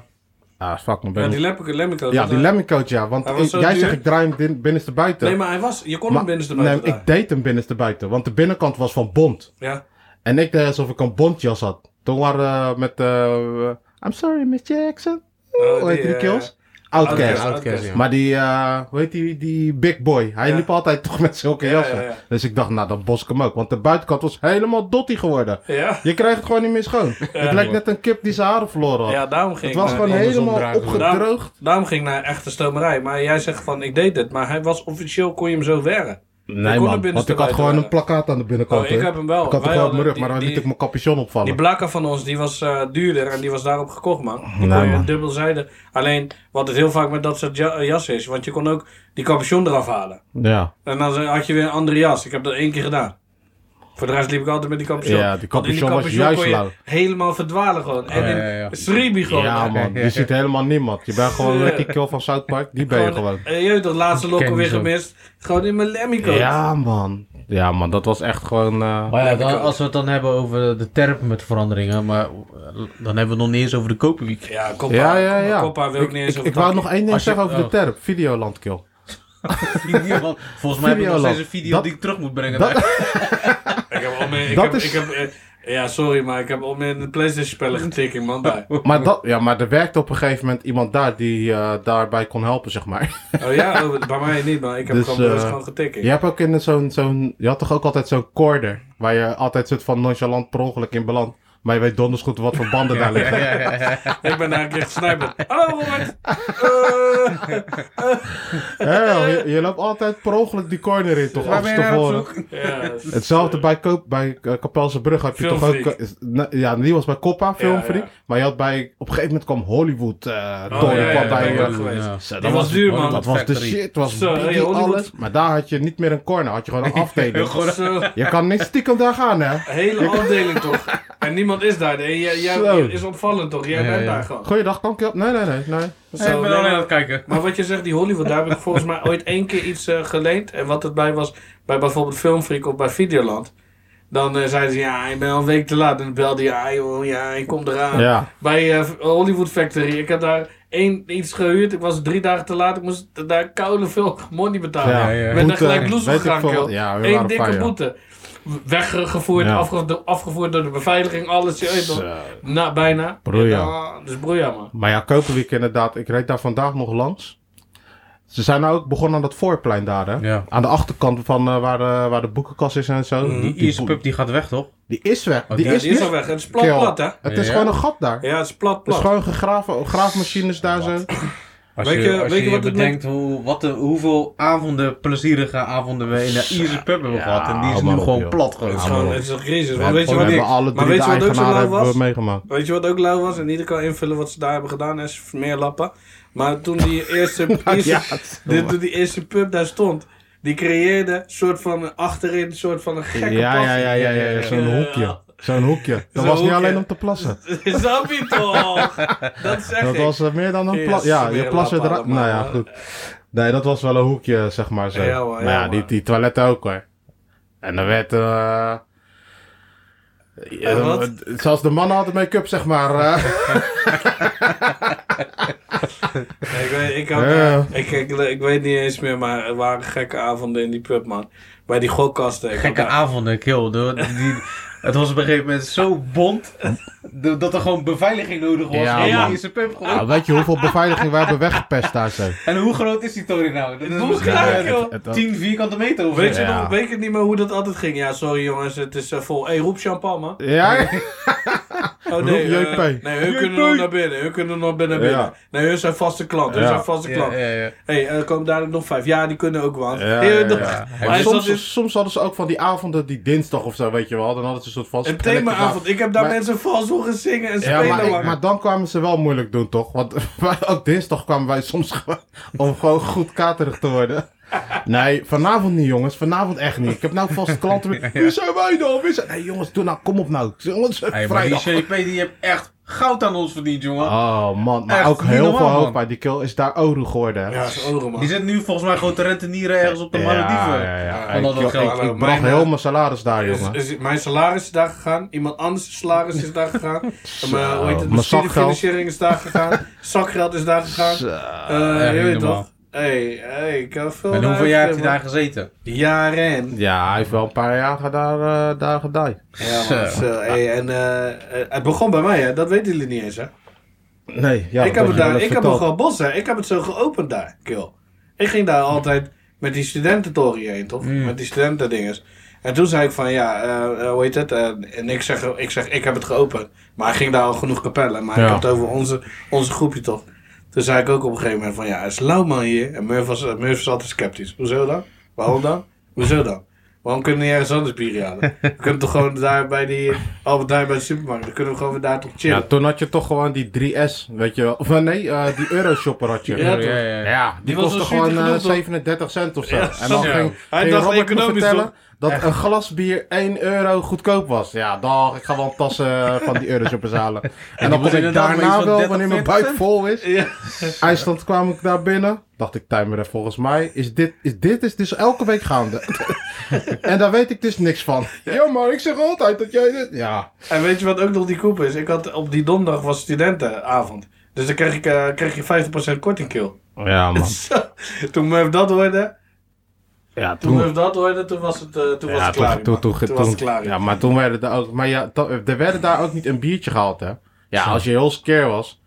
Speaker 2: ah, fuck, dan ben
Speaker 3: Ja,
Speaker 2: ik
Speaker 3: die Lemmeke, Lemmeke.
Speaker 2: Ja, die lemmingcoach, ja. Want
Speaker 3: Hij was
Speaker 2: ik-
Speaker 3: zo
Speaker 2: jij
Speaker 3: duur.
Speaker 2: zegt, ik draai hem din- binnenste buiten.
Speaker 3: Nee, maar hij was... Je kon
Speaker 2: Maar-
Speaker 3: hem binnenste buiten
Speaker 2: Nee, ik deed hem binnenste buiten. Want de binnenkant was van bont.
Speaker 3: Ja.
Speaker 2: En ik deed alsof ik een bontjas had. Toen waren eh, met... eh, I'm sorry, Miss Jackson.
Speaker 3: Oh,
Speaker 2: Hoe heet die
Speaker 3: eh,
Speaker 2: kills?
Speaker 3: Outcast,
Speaker 2: Outcast.
Speaker 4: Outcast, ja.
Speaker 2: Maar die, eh, hoe heet die, die big boy. Hij
Speaker 3: Ja.
Speaker 2: liep altijd toch met zulke
Speaker 3: Ja,
Speaker 2: jassen.
Speaker 3: ja, ja.
Speaker 2: Dus ik dacht, nou, dan bos ik hem ook. Want de buitenkant was helemaal dotty geworden.
Speaker 3: Ja.
Speaker 2: Je krijgt het gewoon niet meer schoon. Het lijkt net een kip die zijn haren verloren had.
Speaker 3: Ja, daarom
Speaker 2: het
Speaker 3: ging
Speaker 2: was
Speaker 3: ik naar,
Speaker 2: gewoon
Speaker 4: andersom
Speaker 2: helemaal
Speaker 4: dragen.
Speaker 2: opgedroogd.
Speaker 3: daarom ging ik naar echte stomerij. Maar jij zegt van, ik deed het. Maar hij was officieel, kon je hem zo werken.
Speaker 2: Nee
Speaker 3: kon hem
Speaker 2: man,
Speaker 3: binnenste
Speaker 2: want ik had
Speaker 3: buiten
Speaker 2: gewoon een
Speaker 3: dragen.
Speaker 2: plakkaat aan de binnenkant.
Speaker 3: Oh, ik
Speaker 2: hè.
Speaker 3: heb hem wel.
Speaker 2: Ik had hem
Speaker 3: Wij
Speaker 2: gewoon op mijn
Speaker 3: hadden
Speaker 2: rug, maar dan
Speaker 3: die-
Speaker 2: liet ik
Speaker 3: die-
Speaker 2: mijn capuchon opvallen.
Speaker 3: Die blakker van ons, die was eh, duurder en die was daarop gekocht, man. Die
Speaker 2: Nee,
Speaker 3: kon je
Speaker 2: man.
Speaker 3: dubbelzijde. Alleen, wat het heel vaak met dat soort ja- jassen is. Want je kon ook die capuchon eraf halen.
Speaker 2: Ja.
Speaker 3: En dan had je weer een andere jas. Ik heb dat één keer gedaan. Voor de rest liep ik altijd met die
Speaker 2: Ja,
Speaker 3: capuchon.
Speaker 2: die
Speaker 3: Want in
Speaker 2: capuchon was
Speaker 3: capuchon
Speaker 2: juist
Speaker 3: kon je
Speaker 2: lauw.
Speaker 3: helemaal verdwalen gewoon. En
Speaker 4: ja,
Speaker 3: in
Speaker 4: ja, ja.
Speaker 3: Sribi gewoon.
Speaker 2: Ja,
Speaker 3: hè.
Speaker 2: man. Je ziet helemaal niemand. Je bent gewoon Lucky Kill van South Park. Die ben je gewoon.
Speaker 3: eh, je weet toch, laatste lokkel
Speaker 4: Ken die
Speaker 3: weer
Speaker 4: zo.
Speaker 3: gemist. Gewoon in mijn Lemmy coat.
Speaker 2: Ja, man. Ja, man. Dat was echt gewoon... eh,
Speaker 4: Maar Oh ja,
Speaker 3: Lekker
Speaker 4: dan,
Speaker 3: kook.
Speaker 4: als we het dan hebben over de terpen met veranderingen, maar eh, dan hebben we het nog niet eens over de koperweek.
Speaker 3: Ja, Coppa,
Speaker 2: Ja, ja, ja.
Speaker 3: Coppa wil ik niet eens
Speaker 2: ik,
Speaker 3: over
Speaker 2: ik wou
Speaker 3: takken.
Speaker 2: nog één ding
Speaker 4: Als je-
Speaker 2: zeggen over de
Speaker 4: oh.
Speaker 2: terp. Videoland Kill.
Speaker 4: Videoland. Volgens mij heb ik nog
Speaker 2: Videoland.
Speaker 4: steeds een video
Speaker 2: Dat-
Speaker 4: die ik terug moet brengen.
Speaker 2: Dat-
Speaker 3: Ik heb al meer- ik
Speaker 2: Dat
Speaker 3: heb-
Speaker 2: is-
Speaker 3: ik heb, eh, Ja, sorry, maar ik heb al meer in de Playstation spellen getikt in man daar.
Speaker 2: Maar, dat, ja, maar er werkte op een gegeven moment iemand daar die eh, daarbij kon helpen, zeg maar.
Speaker 3: Oh ja, oh, bij mij niet, maar ik heb
Speaker 2: Dus,
Speaker 3: gewoon bewust
Speaker 2: eh,
Speaker 3: gewoon getikt.
Speaker 2: Je hebt ook in zo'n, zo'n... Je had toch ook altijd zo'n corder, waar je altijd soort van nonchalant per ongeluk in belandt. Maar je weet donders goed wat voor banden daar liggen.
Speaker 4: Ja, ja, ja.
Speaker 3: Ik ben daar een keer gesnipperd. Hallo Robert! Eh,
Speaker 2: Hé, je, je loopt altijd per ongeluk die corner in, toch?
Speaker 4: Eh. Waar ben je naar op
Speaker 2: Achterstevoren.
Speaker 4: zoek?
Speaker 3: ja, dat is,
Speaker 2: Hetzelfde bij, Koop, bij eh, Kapelse Brug had je toch ook...
Speaker 3: Filmfreak.
Speaker 2: eh, is- ne- ja, die was bij Coppa, Filmfreak.
Speaker 3: ja.
Speaker 2: Maar je had bij... Op een gegeven moment kwam Hollywood eh
Speaker 3: Oh,
Speaker 2: Toren,
Speaker 3: ja, ja,
Speaker 2: kwam
Speaker 3: ja,
Speaker 2: bij...
Speaker 3: ben ik ook
Speaker 2: eh,
Speaker 3: geweest.
Speaker 4: Ja.
Speaker 2: zo,
Speaker 3: Die was duur, man.
Speaker 2: Dat was de
Speaker 4: Factory.
Speaker 2: shit, was
Speaker 3: Zo,
Speaker 2: biggie,
Speaker 3: hey, Hollywood.
Speaker 2: alles. Maar daar had je niet meer een corner, had je gewoon een afdeling.
Speaker 3: Zo,
Speaker 2: Je kan niet stiekem daar gaan, hè?
Speaker 3: hele afdeling toch. En niemand is daar. Nee, jij, jij-
Speaker 2: Zo.
Speaker 3: is opvallend toch? Jij
Speaker 4: Ja,
Speaker 3: bent
Speaker 4: ja.
Speaker 3: daar gewoon.
Speaker 2: Goeiedag, kampje. Nee, nee, nee, nee.
Speaker 3: Zo,
Speaker 4: ik
Speaker 3: nee,
Speaker 4: ben alleen aan
Speaker 3: maar-
Speaker 4: het kijken.
Speaker 3: Maar wat je zegt, die Hollywood, daar heb ik volgens mij ooit één keer iets eh, geleend. En wat het bij was, bij bijvoorbeeld Filmfreak of bij Videoland. Dan eh, zeiden ze, ja, ik ben al een week te laat. En dan belde je, ja, joh, ja, ik kom eraan.
Speaker 2: Ja.
Speaker 3: Bij eh, Hollywood Factory, ik had daar één iets gehuurd. Ik was drie dagen te laat. Ik moest daar koude veel money betalen.
Speaker 2: Ja,
Speaker 4: ja.
Speaker 3: Ik ben daar
Speaker 2: Boete,
Speaker 3: gelijk loes
Speaker 2: weet ik
Speaker 3: gegaan,
Speaker 2: veel.
Speaker 3: joh.
Speaker 2: Ja, we
Speaker 3: Eén
Speaker 2: waren
Speaker 3: dikke
Speaker 2: fijn, ja.
Speaker 3: boete. Weggevoerd,
Speaker 2: Ja.
Speaker 3: afge- afgevoerd door de beveiliging, alles. Je weet nog.
Speaker 2: Zo.
Speaker 3: Nou, bijna.
Speaker 2: Broeia.
Speaker 3: Ja, dus broeia, man.
Speaker 2: Maar ja, Koperwiek inderdaad. Ik reed daar vandaag nog langs. Ze zijn nou ook begonnen aan dat voorplein daar, hè?
Speaker 4: Ja.
Speaker 2: Aan de achterkant van eh, waar, de, waar de boekenkast is en zo.
Speaker 4: Die
Speaker 2: bo-
Speaker 4: Ierse pub die gaat weg, toch?
Speaker 2: die is weg.
Speaker 4: Oh,
Speaker 2: die,
Speaker 4: ja,
Speaker 2: is
Speaker 3: Die Mhm. is
Speaker 2: weg.
Speaker 3: al weg. Het is plat
Speaker 2: Kerel.
Speaker 3: plat, hè?
Speaker 2: Het is
Speaker 4: Ja.
Speaker 2: gewoon een gat daar.
Speaker 3: Ja, het is plat
Speaker 2: Het is
Speaker 3: plat.
Speaker 2: gewoon gegraven, graafmachines daar zo.
Speaker 4: Als
Speaker 3: Weet
Speaker 4: je,
Speaker 3: je-
Speaker 4: als
Speaker 3: weet
Speaker 4: je,
Speaker 3: je wat het
Speaker 4: bedenkt hoe, wat de, hoeveel avonden, plezierige avonden we in de Ierse pub hebben gehad. En die is
Speaker 2: man
Speaker 4: nu
Speaker 2: op,
Speaker 4: gewoon
Speaker 2: joh.
Speaker 4: plat gewoon.
Speaker 3: Het is gewoon het is een crisis. Maar weet
Speaker 2: We
Speaker 3: je wat
Speaker 2: hebben
Speaker 3: ik...
Speaker 2: alle
Speaker 3: Maar
Speaker 2: drie
Speaker 3: weet
Speaker 2: de
Speaker 3: je wat ook zo
Speaker 2: eigenaren
Speaker 3: lauw
Speaker 2: hebben
Speaker 3: was?
Speaker 2: we meegemaakt.
Speaker 3: Weet je wat ook lauw was? En ieder kan invullen wat ze daar hebben gedaan. En ze meer lappen. Maar toen die eerste, eerste,
Speaker 2: ja,
Speaker 3: de- toen die eerste pub daar stond. Die creëerde een soort van een- achterin een soort van een
Speaker 2: Ja,
Speaker 3: gekke
Speaker 2: ja, ja, ja, ja,
Speaker 4: Ja.
Speaker 2: ja. zo'n hoekje. Zo'n hoekje. Dat
Speaker 3: Zo'n
Speaker 2: was niet
Speaker 3: hoekje.
Speaker 2: alleen om te plassen.
Speaker 3: ja. Snap je toch? Dat zeg
Speaker 2: Dat
Speaker 3: ik.
Speaker 2: was eh, meer dan een
Speaker 3: Yes,
Speaker 2: plas. Ja,
Speaker 3: weer
Speaker 2: je plas weer
Speaker 3: lappen
Speaker 2: eruit.
Speaker 3: allemaal,
Speaker 2: Nou ja,
Speaker 3: hè.
Speaker 2: goed. Nee, dat was wel een hoekje, zeg maar zo.
Speaker 3: Ja, hoor,
Speaker 2: maar
Speaker 3: ja,
Speaker 2: ja,
Speaker 3: hoor.
Speaker 2: die, die toiletten ook hoor. En er werd... eh,
Speaker 3: En
Speaker 2: eh,
Speaker 3: wat?
Speaker 2: Zelfs de mannen hadden make-up, zeg maar. eh.
Speaker 3: Ik weet, ik, had,
Speaker 2: Ja.
Speaker 3: eh, ik, ik, ik weet niet eens meer, maar er waren gekke avonden in die pub, man. Bij die gokkasten. Ik
Speaker 4: Gekke
Speaker 3: had-
Speaker 4: avonden, kill. de- die, het was op een gegeven moment zo bond de- dat er gewoon beveiliging nodig was.
Speaker 2: Ja,
Speaker 4: in de
Speaker 2: man.
Speaker 4: Ierse pub gewoon.
Speaker 2: Nou, weet je hoeveel beveiliging wij hebben weggepest daar zo?
Speaker 4: En hoe groot is die toren nou? Dat is
Speaker 3: Hoe
Speaker 4: misschien
Speaker 3: groot,
Speaker 4: eh,
Speaker 3: joh?
Speaker 2: Het-
Speaker 4: 10 vierkante meter of
Speaker 3: Weet je
Speaker 4: zo.
Speaker 2: Ja.
Speaker 3: nog, weet ik niet meer hoe dat altijd ging. Ja, sorry jongens, het is eh, vol. Hé, hey, roep champagne, man.
Speaker 2: Ja,
Speaker 3: Oh nee,
Speaker 2: Roep JP.
Speaker 3: eh, nee, hun
Speaker 4: JP.
Speaker 3: kunnen nog naar binnen. Hun kunnen nog binnen binnen.
Speaker 2: Ja.
Speaker 3: Nee, hun zijn vaste klant. Hun
Speaker 2: Ja.
Speaker 3: zijn vaste
Speaker 4: Ja,
Speaker 3: klant.
Speaker 4: ja, ja.
Speaker 3: Hé, hey, er komen dadelijk nog vijf. Ja, die kunnen ook wel.
Speaker 2: Ja,
Speaker 3: Heel
Speaker 2: ja,
Speaker 3: dag.
Speaker 2: ja.
Speaker 3: Maar hij dus- zat
Speaker 2: soms,
Speaker 3: in
Speaker 2: soms hadden ze ook van die avonden, die dinsdag of zo, weet je wel. Dan hadden ze een soort vast...
Speaker 3: een themaavond. Ik heb daar
Speaker 2: Maar-
Speaker 3: mensen vals horen zingen en
Speaker 2: Ja,
Speaker 3: spelen.
Speaker 2: maar, ik-
Speaker 3: man.
Speaker 2: maar dan kwamen ze wel moeilijk doen, toch? Want wij- ook dinsdag kwamen wij soms gewoon om gewoon goed katerig te worden. Nee, vanavond niet, jongens. Vanavond echt niet. Ik heb nou vast klanten. Met... Wie zijn wij dan? Wie zijn... Nee, jongens, doe nou, kom op nou. Jongens,
Speaker 4: Hey, maar die
Speaker 2: vrijdag.
Speaker 4: CP die heeft echt goud aan ons verdiend, jongen.
Speaker 2: Oh man, maar
Speaker 4: Echt
Speaker 2: ook
Speaker 4: niet
Speaker 2: heel
Speaker 4: normaal,
Speaker 2: veel
Speaker 4: man.
Speaker 2: hoofdpijn. Die kill is daar oru geworden. hè?
Speaker 3: Ja, zijn oren, man.
Speaker 4: Die zit nu volgens mij gewoon te rentenieren ergens op de Malediven.
Speaker 2: Ja, ja, ja.
Speaker 4: Van al
Speaker 2: Ik,
Speaker 4: dat
Speaker 2: joh,
Speaker 4: geld.
Speaker 2: ik,
Speaker 3: Hallo,
Speaker 2: ik bracht
Speaker 3: mijn,
Speaker 2: heel
Speaker 3: eh,
Speaker 2: mijn salaris daar,
Speaker 3: Is-
Speaker 2: jongen.
Speaker 3: is- Dus- mijn salaris is daar gegaan, iemand anders salaris is daar gegaan, En mijn, hoe heet het,
Speaker 2: Mijn
Speaker 3: mijn
Speaker 2: zakgeld.
Speaker 3: studiefinanciering is daar gegaan, zakgeld is daar gegaan. Eh,
Speaker 4: echt
Speaker 3: je
Speaker 4: niet
Speaker 3: weet
Speaker 4: normaal.
Speaker 3: toch? Hé, hey, ik heb veel
Speaker 4: En hoeveel
Speaker 3: naar
Speaker 4: jaar heeft hij daar
Speaker 3: uitgegeven,
Speaker 4: gezeten?
Speaker 3: man. Jaren.
Speaker 2: Ja, hij heeft wel een paar jaar daar, eh, daar gedaan.
Speaker 3: Ja, man,
Speaker 4: Zo.
Speaker 3: zo, hey, en eh, eh, het begon bij mij, hè? dat weten jullie niet eens. Hè?
Speaker 2: Nee, ja, dat
Speaker 3: ik heb,
Speaker 2: je
Speaker 3: het
Speaker 2: wel
Speaker 3: daar,
Speaker 2: even
Speaker 3: ik heb
Speaker 2: verteld.
Speaker 3: nogal bos, hè? ik heb het zo geopend daar, kill. Ik ging daar altijd met die studententorie heen, toch?
Speaker 4: Mm.
Speaker 3: Met die studentendinges. En toen zei ik van, ja, eh, eh, hoe heet het? Eh, en ik zeg, ik zeg, ik heb het geopend. Maar hij ging daar al genoeg kapellen. Maar ik
Speaker 2: Ja.
Speaker 3: had het over onze, onze groepje, toch? Toen zei ik ook op een gegeven moment van, ja, het is Lauwman hier. En Murph was, eh, Murph was altijd sceptisch. Hoezo dan? Waarom dan? Hoezo dan? Waarom kunnen we niet ergens anders bier halen? We kunnen toch gewoon daar bij die Albert Heijn bij de supermarkt. Dan kunnen we gewoon weer daar toch chillen.
Speaker 2: Ja, toen had je toch gewoon die 3S, weet je wel. Of eh, nee, eh, die Euroshopper had je.
Speaker 3: Ja, toch?
Speaker 2: Ja, die,
Speaker 4: was
Speaker 2: kostte
Speaker 4: wel zuur
Speaker 2: gewoon eh,
Speaker 4: genoeg, toch?
Speaker 2: 37 cent of zo. en
Speaker 3: snap
Speaker 2: dan
Speaker 4: je.
Speaker 2: ging,
Speaker 3: Hij
Speaker 2: ging
Speaker 3: dacht
Speaker 2: Robert me
Speaker 3: economisch,
Speaker 2: vertellen dat een glas bier 1 euro goedkoop was. Ja, dag, ik ga wel tassen van die euroshoppers halen. En, dan kom
Speaker 4: moet
Speaker 2: ik
Speaker 4: inderdaad maar iets
Speaker 2: daarna
Speaker 4: van
Speaker 2: wel,
Speaker 4: 30,
Speaker 2: wanneer mijn
Speaker 4: 40
Speaker 2: buik vol is.
Speaker 3: Ja.
Speaker 2: IJsland kwam ik daar binnen. Dacht ik, timer, volgens mij is dit, is dit is dus elke week gaande. en daar weet ik dus niks van. Ja, maar ik zeg altijd dat jij dit... Ja,
Speaker 3: En weet je wat ook nog die koep is? Ik had op die donderdag was studentenavond. Dus dan kreeg ik, eh, kreeg je 50% korting kill.
Speaker 2: ja man.
Speaker 3: Zo. toen Murph dat hoorde,
Speaker 2: Ja,
Speaker 3: toen Murph dat hoorde, toen was het, eh, toen was
Speaker 2: Ja,
Speaker 3: het klaar.
Speaker 2: toen, toen, toen,
Speaker 3: toen, was het klaar.
Speaker 2: ja, maar toen werden er ook, maar ja, to- er werden daar ook niet een biertje gehaald, hè? Ja, als je heel skeer was.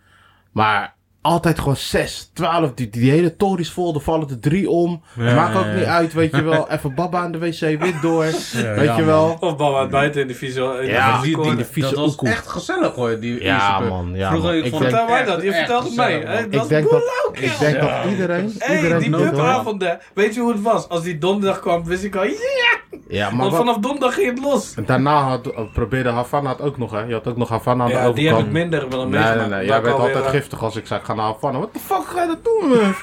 Speaker 2: Maar altijd gewoon 6, 12, die, die hele toren is vol, er vallen er drie om.
Speaker 4: Ja,
Speaker 2: Maakt ook
Speaker 4: ja,
Speaker 2: niet
Speaker 4: ja.
Speaker 2: uit, weet je wel. Even baba aan de wc, wit door. weet
Speaker 4: ja,
Speaker 2: je wel.
Speaker 3: Of Baba het buiten in de visual.
Speaker 2: Ja,
Speaker 4: Die, die,
Speaker 2: die- die vieze
Speaker 4: dat was
Speaker 2: oekoe.
Speaker 4: echt gezellig hoor, die
Speaker 2: Ja,
Speaker 4: eerste beurt.
Speaker 2: man, ja,
Speaker 4: Vroeger,
Speaker 2: man.
Speaker 4: ik
Speaker 2: Ik
Speaker 4: vond het
Speaker 3: Vertel mij
Speaker 4: echt-
Speaker 3: dat, je
Speaker 4: echt
Speaker 3: vertelt het mij.
Speaker 4: gezellig,
Speaker 3: hè?
Speaker 4: man.
Speaker 3: Dat
Speaker 2: Ik denk
Speaker 3: is
Speaker 2: dat,
Speaker 3: boel
Speaker 2: ik denk dat iedereen,
Speaker 3: Hey,
Speaker 2: iedereen
Speaker 3: die
Speaker 2: het nodig had.
Speaker 3: pubavonden. Weet je hoe het was? Als die donderdag kwam, wist ik al, ja!
Speaker 2: Ja, maar
Speaker 3: Want
Speaker 2: wat,
Speaker 3: vanaf donderdag ging het los.
Speaker 2: daarna had, probeerde Havana het ook nog, hè. Je had ook nog Havana aan de
Speaker 3: Ja,
Speaker 2: overkant.
Speaker 3: die heb ik minder wel
Speaker 2: Nee,
Speaker 3: meegemaakt.
Speaker 2: nee, nee.
Speaker 3: Dat
Speaker 2: Jij
Speaker 3: ik
Speaker 2: bent
Speaker 3: alweer,
Speaker 2: altijd
Speaker 3: eh,
Speaker 2: giftig als ik zeg, ga naar Havana. Wat de fuck ga je dat doen, man?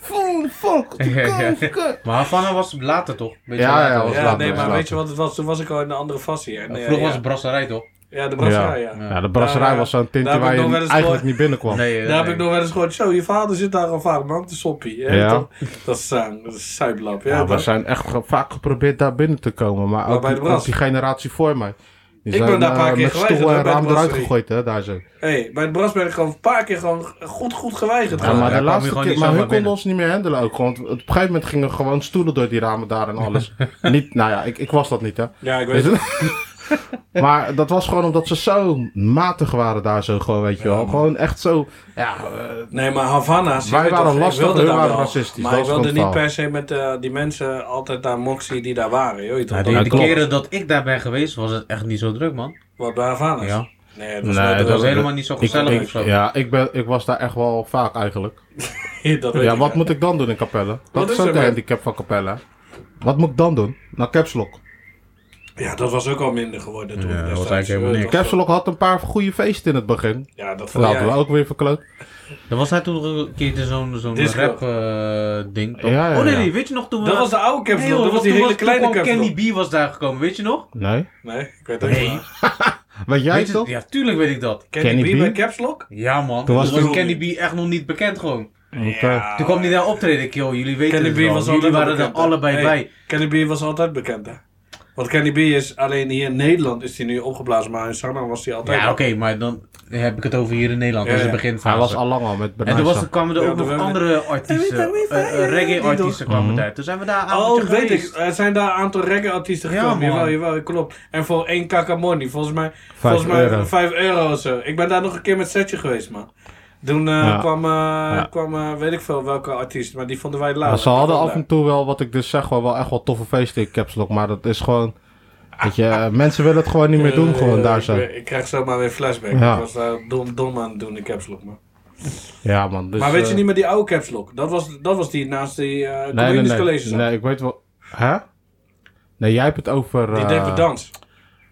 Speaker 2: Fuck, fuck.
Speaker 4: Ja,
Speaker 2: fuck, fuck.
Speaker 4: Maar Havana was later toch? Beetje
Speaker 2: Ja,
Speaker 4: later.
Speaker 2: ja, was
Speaker 3: eh, Ja,
Speaker 2: later,
Speaker 3: nee,
Speaker 2: was
Speaker 3: maar
Speaker 2: later.
Speaker 3: weet je wat het was? Toen was ik al in een andere fassie. En, eh,
Speaker 4: Vroeger
Speaker 3: ja,
Speaker 4: was het brasserij toch?
Speaker 3: Ja, de brasserij, ja.
Speaker 2: Ja, de brasserij
Speaker 3: Daar, eh,
Speaker 2: was zo'n
Speaker 3: daar
Speaker 2: tintje
Speaker 3: heb
Speaker 2: waar
Speaker 3: ik
Speaker 2: je
Speaker 3: nog wel eens
Speaker 2: eigenlijk
Speaker 3: gehoord.
Speaker 2: niet binnenkwam.
Speaker 4: Nee, eh,
Speaker 3: Daar heb
Speaker 4: nee.
Speaker 3: ik nog wel eens gehoord, zo, je vader zit daar al vaak, man, te soppie. hè,
Speaker 2: Ja.
Speaker 3: toch? Dat is zang, dat is zuiplap. Ja,
Speaker 2: Ja,
Speaker 3: toch?
Speaker 2: we zijn echt ge- vaak geprobeerd daar binnen te komen. Maar ook,
Speaker 3: bij de
Speaker 2: die,
Speaker 3: bras.
Speaker 2: ook die generatie voor mij. Die
Speaker 3: Ik ben daar een paar
Speaker 2: eh,
Speaker 3: keer
Speaker 2: met
Speaker 3: geweigerd,
Speaker 2: stoel
Speaker 3: hè,
Speaker 2: en
Speaker 3: bij de
Speaker 2: raam eruit
Speaker 3: brasserie.
Speaker 2: gegooid, hè, daar zo.
Speaker 3: hey, bij het bras ben ik gewoon een paar keer gewoon goed, goed geweigerd.
Speaker 2: Ja,
Speaker 3: gewoon.
Speaker 2: maar
Speaker 4: daar
Speaker 2: de
Speaker 4: kwam je
Speaker 2: laatste
Speaker 4: gewoon
Speaker 2: keer,
Speaker 4: niet
Speaker 2: maar hun konden
Speaker 4: zomaar binnen.
Speaker 2: ons niet meer handelen ook. gewoon. Want op een gegeven moment gingen gewoon stoelen door die ramen daar en alles. niet, nou ja, ik, ik was dat niet, hè.
Speaker 3: Ja, ik weet het.
Speaker 2: maar dat was gewoon omdat ze zo matig waren daar zo gewoon, weet je wel. Gewoon echt zo, ja, eh,
Speaker 3: Nee, maar Havana's. je
Speaker 2: Wij
Speaker 3: weet
Speaker 2: waren
Speaker 3: toch, ik
Speaker 2: lastig,
Speaker 3: wilde
Speaker 2: hun
Speaker 3: daar
Speaker 2: waren
Speaker 3: wel.
Speaker 2: racistisch,
Speaker 3: Maar
Speaker 2: dat
Speaker 3: ik
Speaker 2: is
Speaker 3: wilde
Speaker 2: gewoon
Speaker 3: niet
Speaker 2: het
Speaker 3: per se met eh, die mensen altijd naar Moxie die daar waren. Je weet toch?
Speaker 4: Ja, die,
Speaker 2: Ja,
Speaker 4: die
Speaker 2: klopt.
Speaker 4: keren dat ik daar ben geweest, was het echt niet zo druk, man.
Speaker 3: Wat bij Havana's?
Speaker 4: Ja.
Speaker 3: Nee, dat was,
Speaker 2: Nee, dat
Speaker 3: nooit
Speaker 4: Het was
Speaker 3: druk.
Speaker 2: was-
Speaker 4: helemaal niet zo
Speaker 2: Ik,
Speaker 4: gezellig
Speaker 2: ik-
Speaker 4: of zo.
Speaker 2: eh, ja, ik, ben, ik was daar echt wel vaak eigenlijk.
Speaker 3: dat weet
Speaker 2: Ja,
Speaker 3: ik
Speaker 2: wat
Speaker 3: wel.
Speaker 2: moet ik dan doen in Capelle?
Speaker 3: Wat
Speaker 2: Dat
Speaker 3: is
Speaker 2: is
Speaker 3: er
Speaker 2: ook de
Speaker 3: met-
Speaker 2: handicap van Capelle. Wat moet ik dan doen? Naar Capslock.
Speaker 3: Ja, dat was ook al minder geworden toen.
Speaker 4: Ja, dat was
Speaker 3: destijds,
Speaker 4: eigenlijk helemaal
Speaker 3: je
Speaker 4: niks.
Speaker 3: weet toch?
Speaker 2: Capslock had een paar goede feesten in het begin.
Speaker 3: Oh, Ja, dat
Speaker 2: Dat
Speaker 3: vond
Speaker 2: hadden we
Speaker 3: jij.
Speaker 2: ook weer verkloot.
Speaker 4: Dan was hij toen nog een keertje zo'n zo'n
Speaker 3: Disco.
Speaker 4: rap eh, ding. toch?
Speaker 2: Ja, ja,
Speaker 4: Oh nee,
Speaker 2: ja.
Speaker 4: nee, weet je nog toen we...
Speaker 3: Dat was de oude
Speaker 4: Nee,
Speaker 3: capsule,
Speaker 4: joh,
Speaker 3: dat was die
Speaker 4: toen
Speaker 3: hele
Speaker 4: toen
Speaker 3: kleine
Speaker 4: kwam
Speaker 3: capsule.
Speaker 4: Kenny B was daar gekomen, weet je nog?
Speaker 2: Nee.
Speaker 3: Nee, ik weet het niet.
Speaker 4: Nee.
Speaker 3: maar-
Speaker 2: Weet jij
Speaker 4: Weet je-
Speaker 2: toch?
Speaker 4: Ja, tuurlijk weet ik dat.
Speaker 3: Kenny
Speaker 2: Kenny
Speaker 3: B
Speaker 2: B?
Speaker 3: bij capslock?
Speaker 4: Ja man, toen
Speaker 2: Toen was
Speaker 4: was,
Speaker 2: het nog-
Speaker 4: Kenny B echt nog niet bekend gewoon.
Speaker 2: Oké.
Speaker 4: Toen kwam hij daar optreden, ik, joh, jullie weten het
Speaker 3: Kenny B
Speaker 4: wel.
Speaker 3: was
Speaker 4: Jullie
Speaker 3: altijd
Speaker 4: waren er
Speaker 3: bekend, hè?
Speaker 4: allebei
Speaker 3: Hey,
Speaker 4: bij.
Speaker 3: Kenny B was altijd bekend, hè? Want Kenny B is alleen hier in Nederland is hij nu opgeblazen, maar in Sanna was hij altijd.
Speaker 4: Ja,
Speaker 3: al.
Speaker 4: oké, maar dan heb ik het over hier in Nederland.
Speaker 3: Ja,
Speaker 4: Dat is
Speaker 3: ja.
Speaker 4: het begin
Speaker 2: eh, Hij was al lang al met
Speaker 4: En toen was,
Speaker 2: Bernard.
Speaker 4: er kwamen er
Speaker 3: Ja,
Speaker 4: ook
Speaker 3: toen
Speaker 4: nog
Speaker 3: waren we-
Speaker 4: andere artiesten,
Speaker 3: Ja, we zijn
Speaker 4: eh, eh,
Speaker 3: weer die
Speaker 4: reggae-artiesten
Speaker 3: toch?
Speaker 4: kwamen
Speaker 2: Mhm.
Speaker 4: daar. Toen zijn we daar aan
Speaker 3: Oh, dat weet
Speaker 4: geweest.
Speaker 3: ik. Er zijn daar een aantal reggae-artiesten
Speaker 4: Ja,
Speaker 3: gekomen.
Speaker 4: man.
Speaker 3: jawel, jawel, klopt. En voor één kakamonie, volgens mij, volgens mij
Speaker 2: euro.
Speaker 3: 5 euro of zo. Ik ben daar nog een keer met Setje geweest, man. Toen eh,
Speaker 2: Ja.
Speaker 3: kwam, eh,
Speaker 2: Ja.
Speaker 3: kwam eh, weet ik veel welke artiest, maar die vonden wij lauw.
Speaker 2: Maar ze hadden af en
Speaker 3: een
Speaker 2: toe wel, wat ik dus zeg, wel, wel echt wel toffe feesten in Capslock. Maar dat is gewoon... Weet je, eh, mensen willen het gewoon niet meer doen, gewoon daar zo.
Speaker 3: Ik, ik krijg zomaar weer flashback.
Speaker 2: Ja.
Speaker 3: Ik was daar dom, dom aan het doen in capslock, man.
Speaker 2: Ja man, dus...
Speaker 3: maar weet je
Speaker 2: eh,
Speaker 3: niet meer die oude capslock? Dat was, dat was die naast die eh
Speaker 2: Nee, nee,
Speaker 3: Comenius
Speaker 2: nee.
Speaker 3: College. zat.
Speaker 2: Nee, ik weet wel... Hè? Nee, jij hebt het over...
Speaker 3: Die
Speaker 2: eh,
Speaker 3: dependance.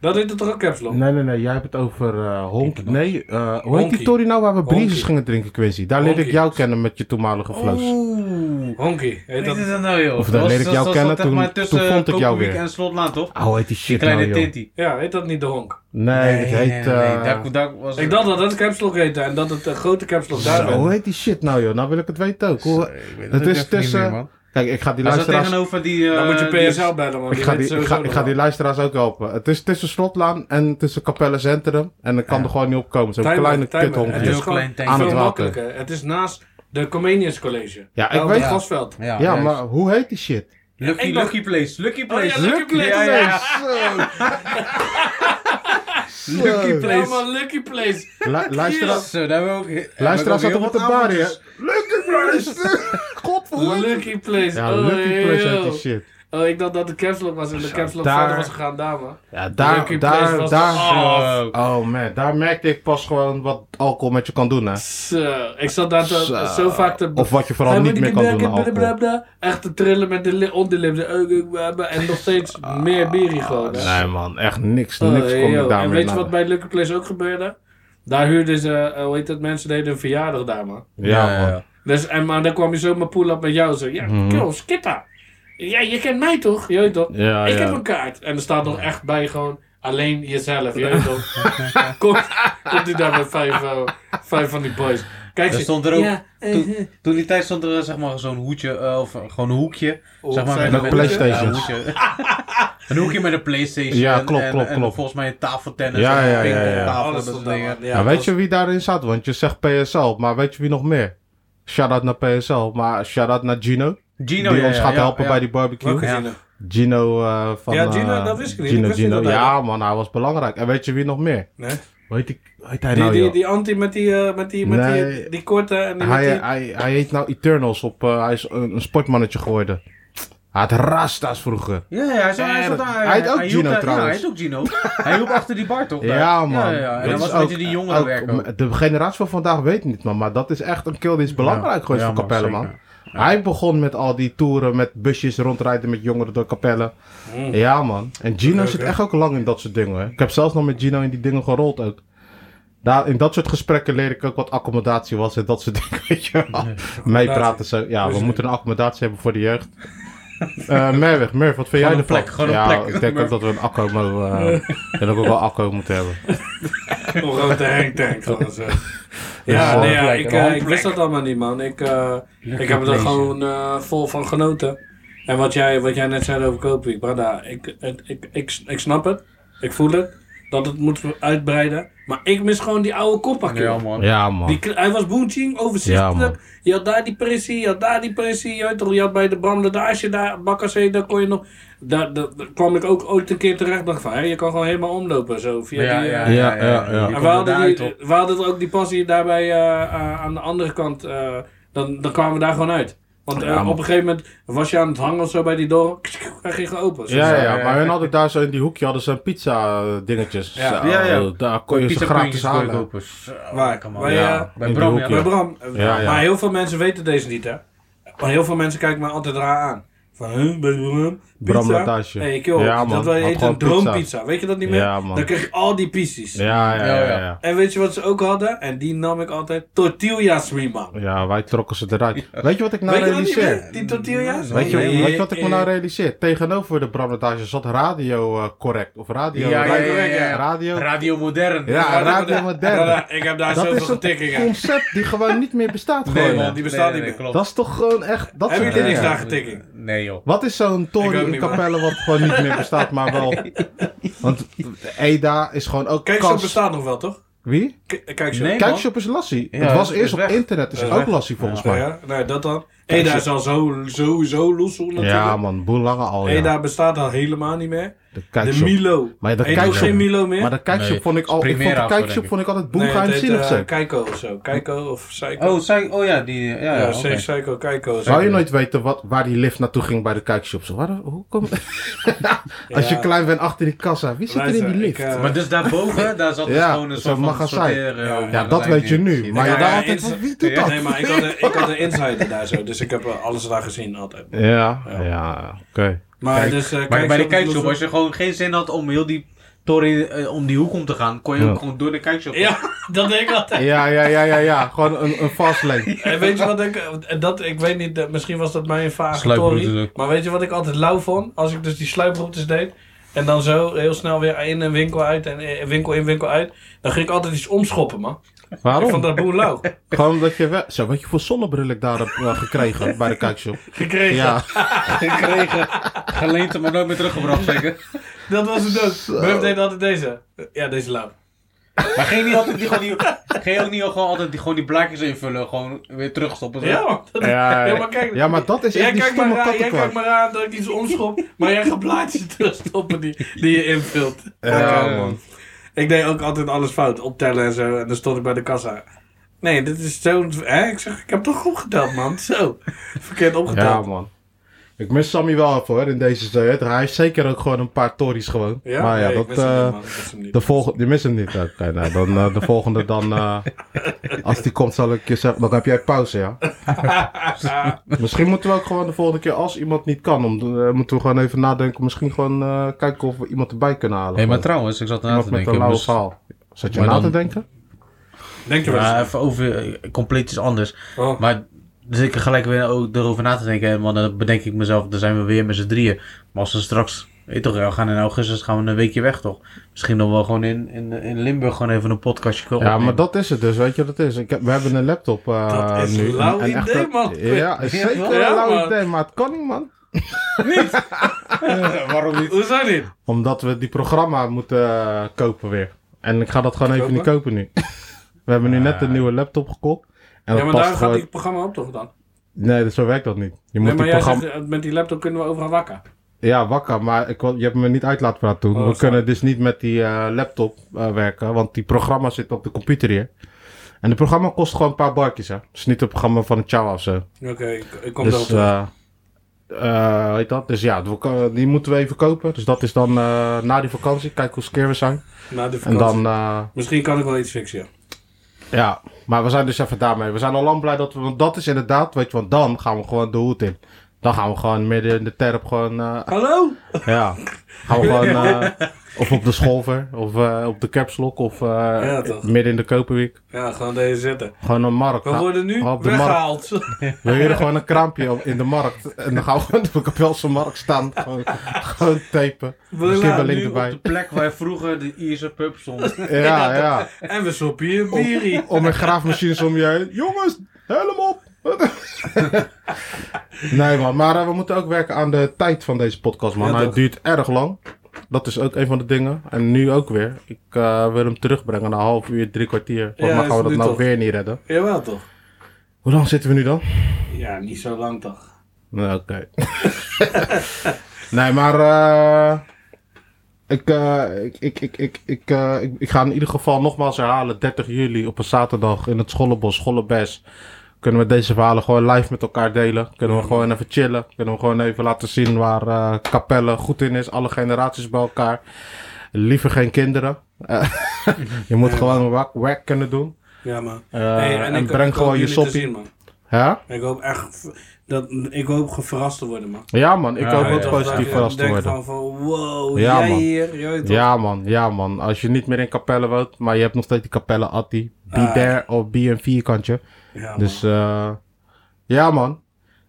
Speaker 3: Dat deed het toch ook capslock?
Speaker 2: Nee, nee, nee. Jij hebt het over eh Honk. Nee, eh, hoe heet
Speaker 3: Honky.
Speaker 2: die Tory nou waar we
Speaker 3: Honky.
Speaker 2: briezes gingen drinken, Quincy? Daar leerde ik
Speaker 3: Honky.
Speaker 2: jou kennen met je
Speaker 4: Oh.
Speaker 2: toenmalige flows.
Speaker 4: Oeh.
Speaker 3: Honky. Heet
Speaker 4: Weet
Speaker 3: dat?
Speaker 4: je dat nou, joh?
Speaker 2: Of
Speaker 4: Dat
Speaker 2: dan leerde
Speaker 4: was-
Speaker 2: ik jou
Speaker 4: dat- dat
Speaker 2: kennen,
Speaker 4: zat, zeg
Speaker 2: toen- toen
Speaker 4: maar, tussen
Speaker 2: vond ik jou
Speaker 4: Koperwiek
Speaker 2: weer.
Speaker 4: en Slotlaan, toch?
Speaker 2: Oh, heet die shit
Speaker 4: Kleine
Speaker 2: nou, joh.
Speaker 4: Tinti.
Speaker 3: Ja, heet dat niet de honk?
Speaker 2: Nee, het heet...
Speaker 4: nee,
Speaker 2: eh,
Speaker 4: daar, daar was
Speaker 3: Ik dacht dat het capslock heette en dat het een grote capslock daar
Speaker 2: zo,
Speaker 3: werd.
Speaker 2: hoe heet die shit nou, joh? Nou wil ik het weten ook. Hoe-
Speaker 4: Sorry, ik weet
Speaker 2: het
Speaker 4: ook
Speaker 2: is
Speaker 4: even niet
Speaker 2: tussen-
Speaker 4: meer, man.
Speaker 2: Kijk, ik ga die
Speaker 4: Hij zat
Speaker 2: luisteraars...
Speaker 4: tegenover die... eh,
Speaker 3: Dan moet je
Speaker 4: die-
Speaker 3: PSL bellen, man.
Speaker 2: dus Ik ga,
Speaker 3: weet
Speaker 2: die, ik,
Speaker 3: sowieso
Speaker 2: ga, ik
Speaker 3: nog
Speaker 2: ga die
Speaker 3: wel.
Speaker 2: luisteraars ook helpen. Het is tussen Slotlaan en tussen Capelle Centrum. En ik kan er gewoon niet op komen. Zo'n
Speaker 3: Timer,
Speaker 2: eh, kleine
Speaker 3: timer.
Speaker 4: Een
Speaker 3: Het
Speaker 2: kuthonk.
Speaker 4: heel
Speaker 3: is gewoon
Speaker 4: klein tankje.
Speaker 2: Aan
Speaker 3: veel
Speaker 2: het water.
Speaker 3: makkelijker. Het is naast de Comenius College.
Speaker 2: Ja, ik
Speaker 3: Daar op
Speaker 2: weet-
Speaker 3: het gasveld.
Speaker 4: Ja,
Speaker 2: Ja,
Speaker 4: juist.
Speaker 2: maar hoe heet die shit?
Speaker 4: Lucky,
Speaker 3: Ik dacht-
Speaker 4: lucky place, lucky
Speaker 3: Oh ja,
Speaker 4: place.
Speaker 3: Lucky Place.
Speaker 4: Ja, ja, ja.
Speaker 2: Zo.
Speaker 4: Lucky place.
Speaker 3: Ja, maar Lucky Place.
Speaker 2: Lu- luisteraars-
Speaker 4: Zo, daar hebben we ook...
Speaker 2: Luisteraars
Speaker 4: hebben
Speaker 2: zat
Speaker 4: we
Speaker 2: op de
Speaker 4: ook heel wat
Speaker 2: bar, hè?
Speaker 4: aanbodjes.
Speaker 2: Lucky Place! Godverdomme!
Speaker 3: Lucky Place.
Speaker 2: Ja,
Speaker 3: oh,
Speaker 2: Lucky Place heet die
Speaker 3: joh.
Speaker 2: shit.
Speaker 3: Oh, ik dacht dat de capslock was en de capslock
Speaker 2: daar-
Speaker 3: verder was gegaan daar, man.
Speaker 2: Ja, daar,
Speaker 3: Lucky Place
Speaker 2: daar,
Speaker 3: was
Speaker 2: daar.
Speaker 4: Zo.
Speaker 2: Oh man, daar merkte ik pas gewoon wat alcohol met je kan doen, hè.
Speaker 3: Zo, ik zat daar te-
Speaker 2: Zo.
Speaker 3: zo, vaak te...
Speaker 2: Of wat je vooral
Speaker 3: Hij
Speaker 2: niet
Speaker 3: moet
Speaker 2: meer
Speaker 3: ik
Speaker 2: kan
Speaker 3: werken,
Speaker 2: doen aan alcohol.
Speaker 3: blablabla. Echt te trillen met de li- onderlip. de euk, euk, blablabla. En nog steeds meer bier gewoon. hè.
Speaker 2: Ah, Nee man, echt niks,
Speaker 3: Oh,
Speaker 2: niks
Speaker 3: hey,
Speaker 2: kon
Speaker 3: yo.
Speaker 2: ik
Speaker 3: En
Speaker 2: daarmee
Speaker 3: weet je wat bij Lucky Place ook gebeurde? Daar huurden ze, eh, hoe heet dat, mensen deden een verjaardag daar, man.
Speaker 2: Ja man.
Speaker 3: Dus, en, maar dan kwam je zomaar poel op met jou zo. Ja,
Speaker 2: Mhm.
Speaker 3: kill, skippa. Ja, je kent mij toch? Je weet toch?
Speaker 2: Ja,
Speaker 3: ik
Speaker 2: ja.
Speaker 3: heb een kaart. En er staat nog echt bij gewoon alleen jezelf. Je weet toch? Komt komt hij daar met vijf, eh, vijf van die boys. Kijk,
Speaker 4: Er
Speaker 3: ze-
Speaker 4: stond er ook,
Speaker 3: Ja, eh,
Speaker 4: toen,
Speaker 3: eh.
Speaker 4: toen die tijd stond er eh, zeg maar zo'n hoedje, eh, of gewoon een hoekje.
Speaker 3: Oh,
Speaker 4: zeg maar,
Speaker 3: zijn
Speaker 2: dat PlayStation?
Speaker 4: Ja, een hoekje. een hoekje met een Playstation.
Speaker 2: Ja,
Speaker 4: en-
Speaker 2: klopt,
Speaker 4: en-
Speaker 2: klopt,
Speaker 4: en
Speaker 2: klopt.
Speaker 4: volgens mij een tafeltennis.
Speaker 2: Ja,
Speaker 4: en een
Speaker 2: ja, ja, ja.
Speaker 4: pingpongtafel,
Speaker 3: Alles
Speaker 4: dat
Speaker 3: stond
Speaker 4: soort
Speaker 3: daar.
Speaker 4: dingen.
Speaker 3: Ja,
Speaker 2: Nou,
Speaker 3: dat
Speaker 2: weet je wie daarin zat? Want je zegt PSL, maar weet je wie nog meer? Shout-out naar PSL, maar shout-out naar Gino.
Speaker 4: Gino,
Speaker 2: die
Speaker 4: ja,
Speaker 2: ons
Speaker 4: ja,
Speaker 2: gaat
Speaker 4: ja,
Speaker 2: helpen
Speaker 4: ja.
Speaker 2: bij die barbecue.
Speaker 3: Welke
Speaker 4: Ja.
Speaker 3: zinnen?
Speaker 2: Gino eh, van...
Speaker 3: Ja, Gino,
Speaker 2: eh,
Speaker 3: dat wist ik niet. Ik
Speaker 2: Gino,
Speaker 3: wist niet
Speaker 2: Gino.
Speaker 3: dat hij
Speaker 2: ja, man, hij was belangrijk. En weet je wie nog meer?
Speaker 3: Nee.
Speaker 2: Weet ik, weet hij
Speaker 3: Die,
Speaker 2: nou,
Speaker 3: die,
Speaker 2: joh?
Speaker 3: die anti met die, eh, met die, met die,
Speaker 2: Nee.
Speaker 3: die korte en die,
Speaker 2: Hij,
Speaker 3: met die-
Speaker 2: hij, hij heet nou Eternals. Op, eh, hij is een, een sportmannetje geworden. Hij had rasta's vroeger.
Speaker 4: Ja, ja, hij, zat, hij, zat,
Speaker 2: Eh,
Speaker 4: daar.
Speaker 2: hij heet ook
Speaker 4: hielp
Speaker 2: Gino
Speaker 4: daar- Ja, hij
Speaker 2: trouwens.
Speaker 4: heet ook Gino. hij hielp achter die bar, toch? daar?
Speaker 2: Ja, man.
Speaker 4: Ja, ja. En
Speaker 2: Dat
Speaker 4: dan
Speaker 2: is
Speaker 4: was een beetje
Speaker 2: ook-
Speaker 4: die
Speaker 2: ook-
Speaker 4: jongerenwerk ook.
Speaker 2: De generatie van vandaag weet niet, man. Maar dat is echt een kill die is belangrijk
Speaker 4: Ja.
Speaker 2: geweest
Speaker 4: Ja,
Speaker 2: voor
Speaker 4: man,
Speaker 2: Capelle,
Speaker 4: zeker.
Speaker 2: man. Hij begon met al die toeren met busjes rondrijden met jongeren door Capelle.
Speaker 4: Mm.
Speaker 2: Ja, man. En Gino
Speaker 3: Leuk,
Speaker 2: zit
Speaker 3: hè?
Speaker 2: echt ook lang in dat soort dingen. Hè. Ik heb zelfs nog met Gino in die dingen gerold ook. Daar, in dat soort gesprekken leer ik ook wat accommodatie was en dat soort dingen. Weet je wel. Meepraten zo. Ja, we
Speaker 3: Dus-
Speaker 2: moeten een accommodatie hebben voor de jeugd. Eh Merwig, Merv, wat vind
Speaker 4: Gewoon
Speaker 2: jij
Speaker 4: een
Speaker 2: ervan?
Speaker 4: plek, gewoon een
Speaker 2: ja,
Speaker 4: plek.
Speaker 2: ik denk
Speaker 4: Merv.
Speaker 2: ook dat we een acco, mogen, eh, ik denk ook wel acco moeten hebben.
Speaker 3: Een Oh, grote Henk Tank gewoon zo.
Speaker 2: Ja,
Speaker 3: Ja, nee, ja,
Speaker 4: handplek,
Speaker 3: ik,
Speaker 4: een
Speaker 3: eh, ik
Speaker 4: handplek.
Speaker 3: wist dat allemaal niet, man. Ik, eh, ik heb er
Speaker 4: plezier.
Speaker 3: gewoon eh, vol van genoten. En wat jij, wat jij net zei over Koopwiek, Brada, ik, het- ik, ik, ik snap het. Ik voel het. Dat het moet uitbreiden. Maar ik mis gewoon die oude koppakje.
Speaker 4: Ja, man.
Speaker 2: Ja, man.
Speaker 3: Die, kle- hij was boentjing,
Speaker 2: Ja,
Speaker 3: overzichtelijk.
Speaker 2: man.
Speaker 3: je had daar die pressie, je had daar die pressie. Je, had, toch, je had bij de Bram Ledage, daar, Bakkerzee, daar kon je nog... Daar, daar, daar kwam ik ook ooit een keer terecht. Dacht van, hè, je kan gewoon helemaal omlopen zo. Via die, eh,
Speaker 2: ja, ja, ja.
Speaker 4: Je
Speaker 2: En
Speaker 3: en
Speaker 4: komt
Speaker 3: we
Speaker 4: er
Speaker 3: hadden,
Speaker 4: daaruit
Speaker 3: die,
Speaker 4: op.
Speaker 3: we hadden er ook die passie daarbij eh, eh, aan de andere kant. eh, dan, dan kwamen we daar gewoon uit. Want eh,
Speaker 2: Ja, man.
Speaker 3: op een gegeven moment was je aan het hangen of zo bij die door. Hij ging gewoon open. Zo,
Speaker 2: Ja,
Speaker 3: zo.
Speaker 2: ja,
Speaker 4: ja.
Speaker 2: maar hun hadden daar zo in die hoekje hadden ze pizza eh, dingetjes.
Speaker 3: Ja.
Speaker 2: Zo,
Speaker 4: Ja, ja.
Speaker 2: Daar kon je ze
Speaker 4: Pizza
Speaker 2: gratis
Speaker 4: puntjes kon je
Speaker 2: halen.
Speaker 4: kopen. Zo,
Speaker 3: Waar?
Speaker 4: lekker, man.
Speaker 3: Waar je-
Speaker 4: Ja,
Speaker 2: in
Speaker 4: Bij
Speaker 2: die
Speaker 4: Bram, ja.
Speaker 2: hoekje.
Speaker 3: Bij Bram.
Speaker 2: Ja, ja.
Speaker 3: Maar heel veel mensen weten deze niet, hè? Maar heel veel mensen kijken me altijd raar aan. Van, huh, bij Bram?
Speaker 2: Bram
Speaker 3: Pizza?
Speaker 2: Latasje.
Speaker 3: Hey, joh,
Speaker 2: Ja, man,
Speaker 3: dat wij
Speaker 2: had
Speaker 3: eten
Speaker 2: gewoon
Speaker 3: een droompizza.
Speaker 2: pizza.
Speaker 3: Weet je dat niet meer?
Speaker 2: Ja, man.
Speaker 3: Dan kreeg je al die pieces.
Speaker 2: Ja, ja, ja,
Speaker 4: Ja,
Speaker 2: ja,
Speaker 4: ja.
Speaker 2: ja.
Speaker 3: En weet je wat ze ook hadden? En die nam ik altijd. Tortillas, mee, man.
Speaker 2: Ja, wij trokken ze eruit. Weet je wat ik nou
Speaker 3: Weet je dat niet meer?
Speaker 2: realiseer?
Speaker 3: Die tortillas?
Speaker 2: Weet je,
Speaker 3: Nee,
Speaker 2: weet je wat ik me
Speaker 3: eh,
Speaker 2: nou realiseer? Tegenover de brandmontage zat radio eh, correct. Of radio.
Speaker 4: Ja, ja,
Speaker 2: radio.
Speaker 4: ja, ja, ja.
Speaker 2: Radio.
Speaker 4: Radio Modern.
Speaker 2: Ja, radio modern.
Speaker 3: Ja, Ik heb daar
Speaker 2: Dat
Speaker 3: zoveel
Speaker 2: is een
Speaker 3: getikkingen.
Speaker 2: concept die gewoon niet meer bestaat.
Speaker 4: Nee,
Speaker 2: Gewoon.
Speaker 4: man, die bestaat niet meer.
Speaker 2: Dat is toch gewoon echt. Dat
Speaker 3: Hebben
Speaker 2: soort
Speaker 3: jullie niks
Speaker 2: dingen.
Speaker 3: daar getikkingen?
Speaker 4: Nee, joh.
Speaker 2: Wat is zo'n
Speaker 3: Ik ook
Speaker 2: toren in
Speaker 3: niet, man.
Speaker 2: Capelle wat gewoon niet meer bestaat, maar wel... Want EDA is gewoon ook
Speaker 3: Kijkshop
Speaker 2: kans...
Speaker 3: bestaat nog wel, toch?
Speaker 2: Wie?
Speaker 3: K- Kijkshop.
Speaker 4: Nee, man.
Speaker 2: Kijkshop is lassie.
Speaker 4: Ja,
Speaker 2: het was
Speaker 4: is- is
Speaker 2: eerst op
Speaker 4: weg.
Speaker 2: internet, is
Speaker 3: Is
Speaker 2: het ook
Speaker 3: weg.
Speaker 2: lassie volgens
Speaker 3: Oh
Speaker 2: mij.
Speaker 3: ja, nee, dat dan. Eda is al zo, sowieso loesel
Speaker 2: Ja,
Speaker 3: natuurlijk. Ja,
Speaker 2: man, boel lange al, ja.
Speaker 3: Eda bestaat al helemaal niet meer.
Speaker 2: de
Speaker 3: De
Speaker 2: kijkshop.
Speaker 3: Milo.
Speaker 2: Maar de
Speaker 3: Heet ook
Speaker 2: kijkshop-
Speaker 3: geen Milo meer?
Speaker 2: Maar de kijkshop
Speaker 4: Nee,
Speaker 2: vond ik al... Ik
Speaker 4: Primera
Speaker 2: vond de
Speaker 4: of zo, denk
Speaker 2: kijkshop
Speaker 4: ik.
Speaker 2: vond ik altijd
Speaker 3: nee, het heet,
Speaker 2: boemgeheimzinnig
Speaker 3: eh,
Speaker 2: zo.
Speaker 3: Keiko of zo. Keiko of Psycho.
Speaker 4: Oh, zei, oh ja, die... Ja, ja,
Speaker 3: ja,
Speaker 4: oké.
Speaker 3: zeker Psycho, Keiko. zo.
Speaker 2: Zou je nooit weten wat, waar die lift naartoe ging bij de kijkshop? Zo, waar, hoe kom... Als je
Speaker 3: Ja.
Speaker 2: klein bent achter die kassa, wie zit er in
Speaker 3: Luister,
Speaker 2: die lift?
Speaker 3: ik, eh,
Speaker 4: Maar dus daarboven, daar zat dus
Speaker 2: Ja,
Speaker 4: gewoon een
Speaker 2: zo'n
Speaker 4: soort van
Speaker 2: magazijn.
Speaker 4: sorteer, eh,
Speaker 3: Ja,
Speaker 2: ja,
Speaker 4: magazijn
Speaker 2: dat weet je
Speaker 4: in.
Speaker 2: nu. Maar
Speaker 3: Ja,
Speaker 2: je
Speaker 3: ja,
Speaker 2: daar altijd
Speaker 3: is-
Speaker 2: van, wie doet
Speaker 4: Ja,
Speaker 2: dat?
Speaker 3: Nee, maar ik had, een, ik had een insider daar zo. Dus ik heb eh, alles daar gezien altijd.
Speaker 2: Ja,
Speaker 3: Ja.
Speaker 2: ja, oké.
Speaker 3: Maar,
Speaker 4: Kijk,
Speaker 3: dus, eh,
Speaker 4: Maar bij de kijkshop,
Speaker 3: loesel.
Speaker 4: als je gewoon geen zin had om heel die toren eh, om die hoek om te gaan, kon je ook
Speaker 2: Ja.
Speaker 4: gewoon door de kijkshop.
Speaker 3: Ja, dat denk ik altijd.
Speaker 2: Ja, ja, ja, ja, ja. Gewoon een, een fast lane.
Speaker 3: En weet je wat ik, en dat, ik weet niet, eh, misschien was dat mijn
Speaker 4: Sluiproutes
Speaker 3: vage
Speaker 4: ook.
Speaker 3: Maar weet je wat ik altijd lauw vond? Als ik dus die sluiproutes deed. En dan zo heel snel weer in een winkel uit en eh, winkel in, winkel uit. Dan ging ik altijd iets omschoppen, man. Ik vond
Speaker 2: Waarom?
Speaker 3: dat boel lauw.
Speaker 2: Gewoon dat je wel... Zo, wat je voor zonnebril ik daar heb eh, gekregen bij de kijkshop.
Speaker 3: Gekregen.
Speaker 2: Ja.
Speaker 4: Gekregen. Geleend, maar nooit meer teruggebracht, zeker.
Speaker 3: Dat was het ook. Murph deed altijd deze. Ja, deze lauw.
Speaker 4: Maar ging niet altijd die, gewoon die, ging ook niet gewoon altijd die, gewoon die blaadjes invullen, gewoon weer terugstoppen.
Speaker 3: Ja, man. Dat is-
Speaker 2: Ja,
Speaker 3: ja, maar kijk.
Speaker 2: Ja, maar dat is
Speaker 3: Jij
Speaker 2: echt die
Speaker 3: kijkt, maar
Speaker 2: stomme
Speaker 3: raar, jij kijkt
Speaker 2: kattenkwart.
Speaker 3: maar aan dat ik iets omschop, maar jij gaat blaadjes terugstoppen die, die je invult.
Speaker 2: Ja, man.
Speaker 3: Ik deed ook altijd alles fout, optellen en zo. En dan stond ik bij de kassa. Nee, dit is zo. Hè? Ik zeg, ik heb toch opgeteld, man. Zo. Verkeerd
Speaker 2: Ja,
Speaker 3: opgeteld.
Speaker 2: man. Ik mis Sammy wel even hoor, in deze tijd. Hij heeft zeker ook gewoon een paar tories gewoon. maar ja,
Speaker 3: nee, ik
Speaker 2: dat...
Speaker 3: wist het
Speaker 2: eh,
Speaker 3: niet, man. Ik wist het niet.
Speaker 2: de volgende, je mist hem niet. Oké, nou, dan eh, de volgende dan... eh, als die komt zal ik je zeggen, dan heb jij pauze, ja? misschien moeten we ook gewoon de volgende keer, als iemand niet kan, om, eh, moeten we gewoon even nadenken. Misschien gewoon eh, kijken of we iemand erbij kunnen halen.
Speaker 4: Hé, maar
Speaker 2: Gewoon.
Speaker 4: trouwens, ik zat na
Speaker 2: Iemand
Speaker 4: te
Speaker 2: met een
Speaker 4: denken.
Speaker 2: lauwe
Speaker 4: moest-
Speaker 2: verhaal. Zat je
Speaker 4: Maar
Speaker 2: na
Speaker 4: dan-
Speaker 2: te denken?
Speaker 3: Denk je wel
Speaker 4: Maar
Speaker 3: eens.
Speaker 4: even over eh, compleet iets anders.
Speaker 3: Oh.
Speaker 4: Maar Dus ik gelijk weer ook erover na te denken. Want dan bedenk ik mezelf, dan zijn we weer met z'n drieën. Maar als we straks, weet je toch, we gaan in augustus gaan we een weekje weg toch? Misschien nog wel gewoon in, in, in Limburg gewoon even een podcastje kunnen
Speaker 2: Ja, maar
Speaker 4: opnemen.
Speaker 2: dat is het dus, weet je wat het is? Ik heb, we hebben een laptop eh,
Speaker 3: Dat is
Speaker 2: nu.
Speaker 3: een lauw
Speaker 2: echt
Speaker 3: idee,
Speaker 2: een-
Speaker 3: man.
Speaker 2: Ja, is zeker een
Speaker 3: Ja,
Speaker 2: lauw
Speaker 3: man.
Speaker 2: idee, maar het kan niet, man.
Speaker 3: Niet?
Speaker 4: Waarom niet?
Speaker 3: Hoe zou dit?
Speaker 2: Omdat we die programma moeten eh, kopen weer. En ik ga dat gewoon even
Speaker 3: Kopen?
Speaker 2: niet kopen nu. we hebben nu net een nieuwe laptop gekocht. En
Speaker 3: Ja,
Speaker 2: dat
Speaker 3: maar
Speaker 2: past
Speaker 3: daar gaat
Speaker 2: gewoon...
Speaker 3: die programma op toch dan?
Speaker 2: Nee, dat- zo werkt dat niet. Je moet
Speaker 3: Nee, maar
Speaker 2: die
Speaker 3: jij
Speaker 2: programma...
Speaker 3: zegt, eh, met die laptop kunnen we overal wakker.
Speaker 2: Ja, wakker, maar ik, wil- je hebt me niet uit laten praten toen.
Speaker 3: Oh,
Speaker 2: we
Speaker 3: sorry.
Speaker 2: kunnen dus niet met die eh, laptop eh, werken, want die programma zit op de computer hier. En het programma kost gewoon een paar barkjes, hè. Het is niet het programma van een Chao of zo.
Speaker 3: Oké, ik, ik kom
Speaker 2: dus,
Speaker 3: erop.
Speaker 2: eh eh, weet dat? Dus ja, we kunnen- die moeten we even kopen. Dus dat is dan eh, na die vakantie. Kijk hoe skeer we zijn.
Speaker 3: na de
Speaker 2: En
Speaker 3: vakantie.
Speaker 2: dan, eh,
Speaker 3: Misschien kan ik wel iets fixen. ja.
Speaker 2: ja. Maar we zijn dus even daarmee. We zijn al lang blij dat we, want dat is inderdaad, weet je, want dan gaan we gewoon de hoed in. Dan gaan we gewoon midden in de terp gewoon eh,
Speaker 3: Hallo?
Speaker 2: Ja. Gaan we gewoon. eh, of op de Scholver, of eh, op de Capslok, of eh,
Speaker 3: toch.
Speaker 2: midden in de Koperweek.
Speaker 3: Ja, gewoon deze zitten.
Speaker 2: Gewoon een markt.
Speaker 3: We
Speaker 2: Nou,
Speaker 3: worden nu
Speaker 2: op de markt.
Speaker 3: weggehaald.
Speaker 2: We huren gewoon een kraampje op- in de markt. En dan gaan we gewoon op de Kapelse markt staan. Gewoon, gewoon tapen. Misschien wel
Speaker 3: laten
Speaker 2: link
Speaker 4: Nu op
Speaker 2: erbij.
Speaker 4: de plek waar vroeger de Ierse pub stond.
Speaker 2: Ja, ja.
Speaker 3: En we soppen hier een bierie.
Speaker 2: Om een graafmachines om je heen. Jongens, helm op! nee man, maar eh, we moeten ook werken aan de tijd van deze podcast man.
Speaker 3: Ja,
Speaker 2: Hij
Speaker 3: toch.
Speaker 2: duurt erg lang. Dat is ook een van de dingen. En nu ook weer. Ik eh, wil hem terugbrengen naar een half uur, drie kwartier. Volgens
Speaker 3: Ja,
Speaker 2: mij gaan we
Speaker 3: is
Speaker 2: dat
Speaker 3: nu
Speaker 2: nou
Speaker 3: toch.
Speaker 2: weer niet redden.
Speaker 3: Jawel toch?
Speaker 2: Hoe lang zitten we nu dan?
Speaker 3: Ja, niet zo lang toch?
Speaker 2: Nee, oké. nee, maar eh, ik, eh, ik, ik, ik, ik, ik, eh, ik, ik ga in ieder geval nogmaals herhalen. 30 juli op een zaterdag in het Schollebos, Schollebes. Kunnen we deze verhalen gewoon live met elkaar delen. Kunnen we gewoon even chillen. Kunnen we gewoon even laten zien waar eh Capelle goed in is. Alle generaties bij elkaar. Liever geen kinderen. Eh, je moet gewoon wack, wack kunnen doen.
Speaker 3: Ja, man.
Speaker 2: Eh,
Speaker 3: Hey,
Speaker 2: en
Speaker 3: ik-
Speaker 2: breng
Speaker 3: ik hoop
Speaker 2: gewoon je
Speaker 3: jullie te
Speaker 2: soppie.
Speaker 3: zien, man.
Speaker 2: Ja?
Speaker 3: Ik hoop echt v- dat ik hoop ge- verrast te worden, man.
Speaker 2: ja man, ik
Speaker 4: Ja,
Speaker 2: hoop
Speaker 4: ja,
Speaker 2: ook
Speaker 4: ja.
Speaker 2: positief verrast te worden.
Speaker 3: Van, van, wow,
Speaker 2: Ja,
Speaker 3: jij
Speaker 2: man.
Speaker 3: hier. jij weet toch?
Speaker 2: Ja man, ja man. Als je niet meer in Capelle woont, maar je hebt nog steeds die Capelle Atti. Be
Speaker 3: Ah.
Speaker 2: there of be een vierkantje.
Speaker 3: Ja, man.
Speaker 2: Dus eh ja man.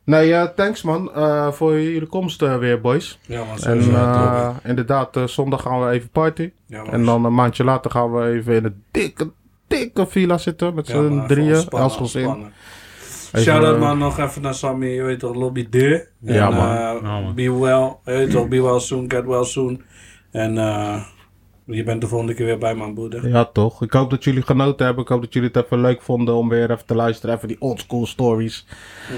Speaker 2: Nee, eh, thanks man eh, voor jullie komst eh, weer boys.
Speaker 3: ja, Oh, man,
Speaker 2: En
Speaker 3: sowieso,
Speaker 2: eh,
Speaker 3: toch.
Speaker 2: inderdaad, eh, zondag gaan we even party.
Speaker 3: Ja, man.
Speaker 2: En dan een maandje later gaan we even in een dikke, dikke villa zitten met
Speaker 3: Ja,
Speaker 2: z'n
Speaker 3: man, even
Speaker 2: drieën.
Speaker 3: ontspannen,
Speaker 2: Elschels in.
Speaker 3: ontspannen.
Speaker 2: Even,
Speaker 3: Shout-out
Speaker 2: eh,
Speaker 3: man nog even naar Sammy, je weet toch, Lobby Deur. En,
Speaker 2: Ja, man.
Speaker 3: eh,
Speaker 4: Ja, man.
Speaker 3: Be well, je weet toch, be well soon, get well soon. En eh, je bent de volgende keer weer bij mijn broeder.
Speaker 2: Ja, toch. Ik hoop dat jullie genoten hebben. Ik hoop dat jullie het even leuk vonden om weer even te luisteren. Even die oldschool stories.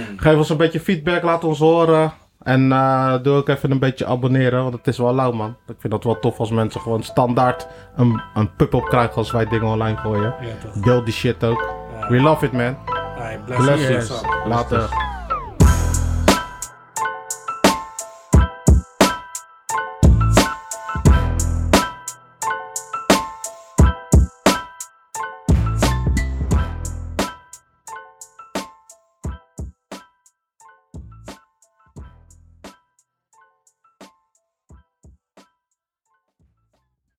Speaker 3: Hmm.
Speaker 2: Geef ons een beetje feedback. Laat ons horen. En eh, doe ook even een beetje abonneren. Want het is wel lauw, man. Ik vind dat wel tof als mensen gewoon standaard een, een pub-up krijgen als wij dingen online gooien.
Speaker 3: Ja, toch.
Speaker 2: Deel die shit ook. We love it, man.
Speaker 3: Alright,
Speaker 2: Bless
Speaker 3: bless you.
Speaker 2: you. Later.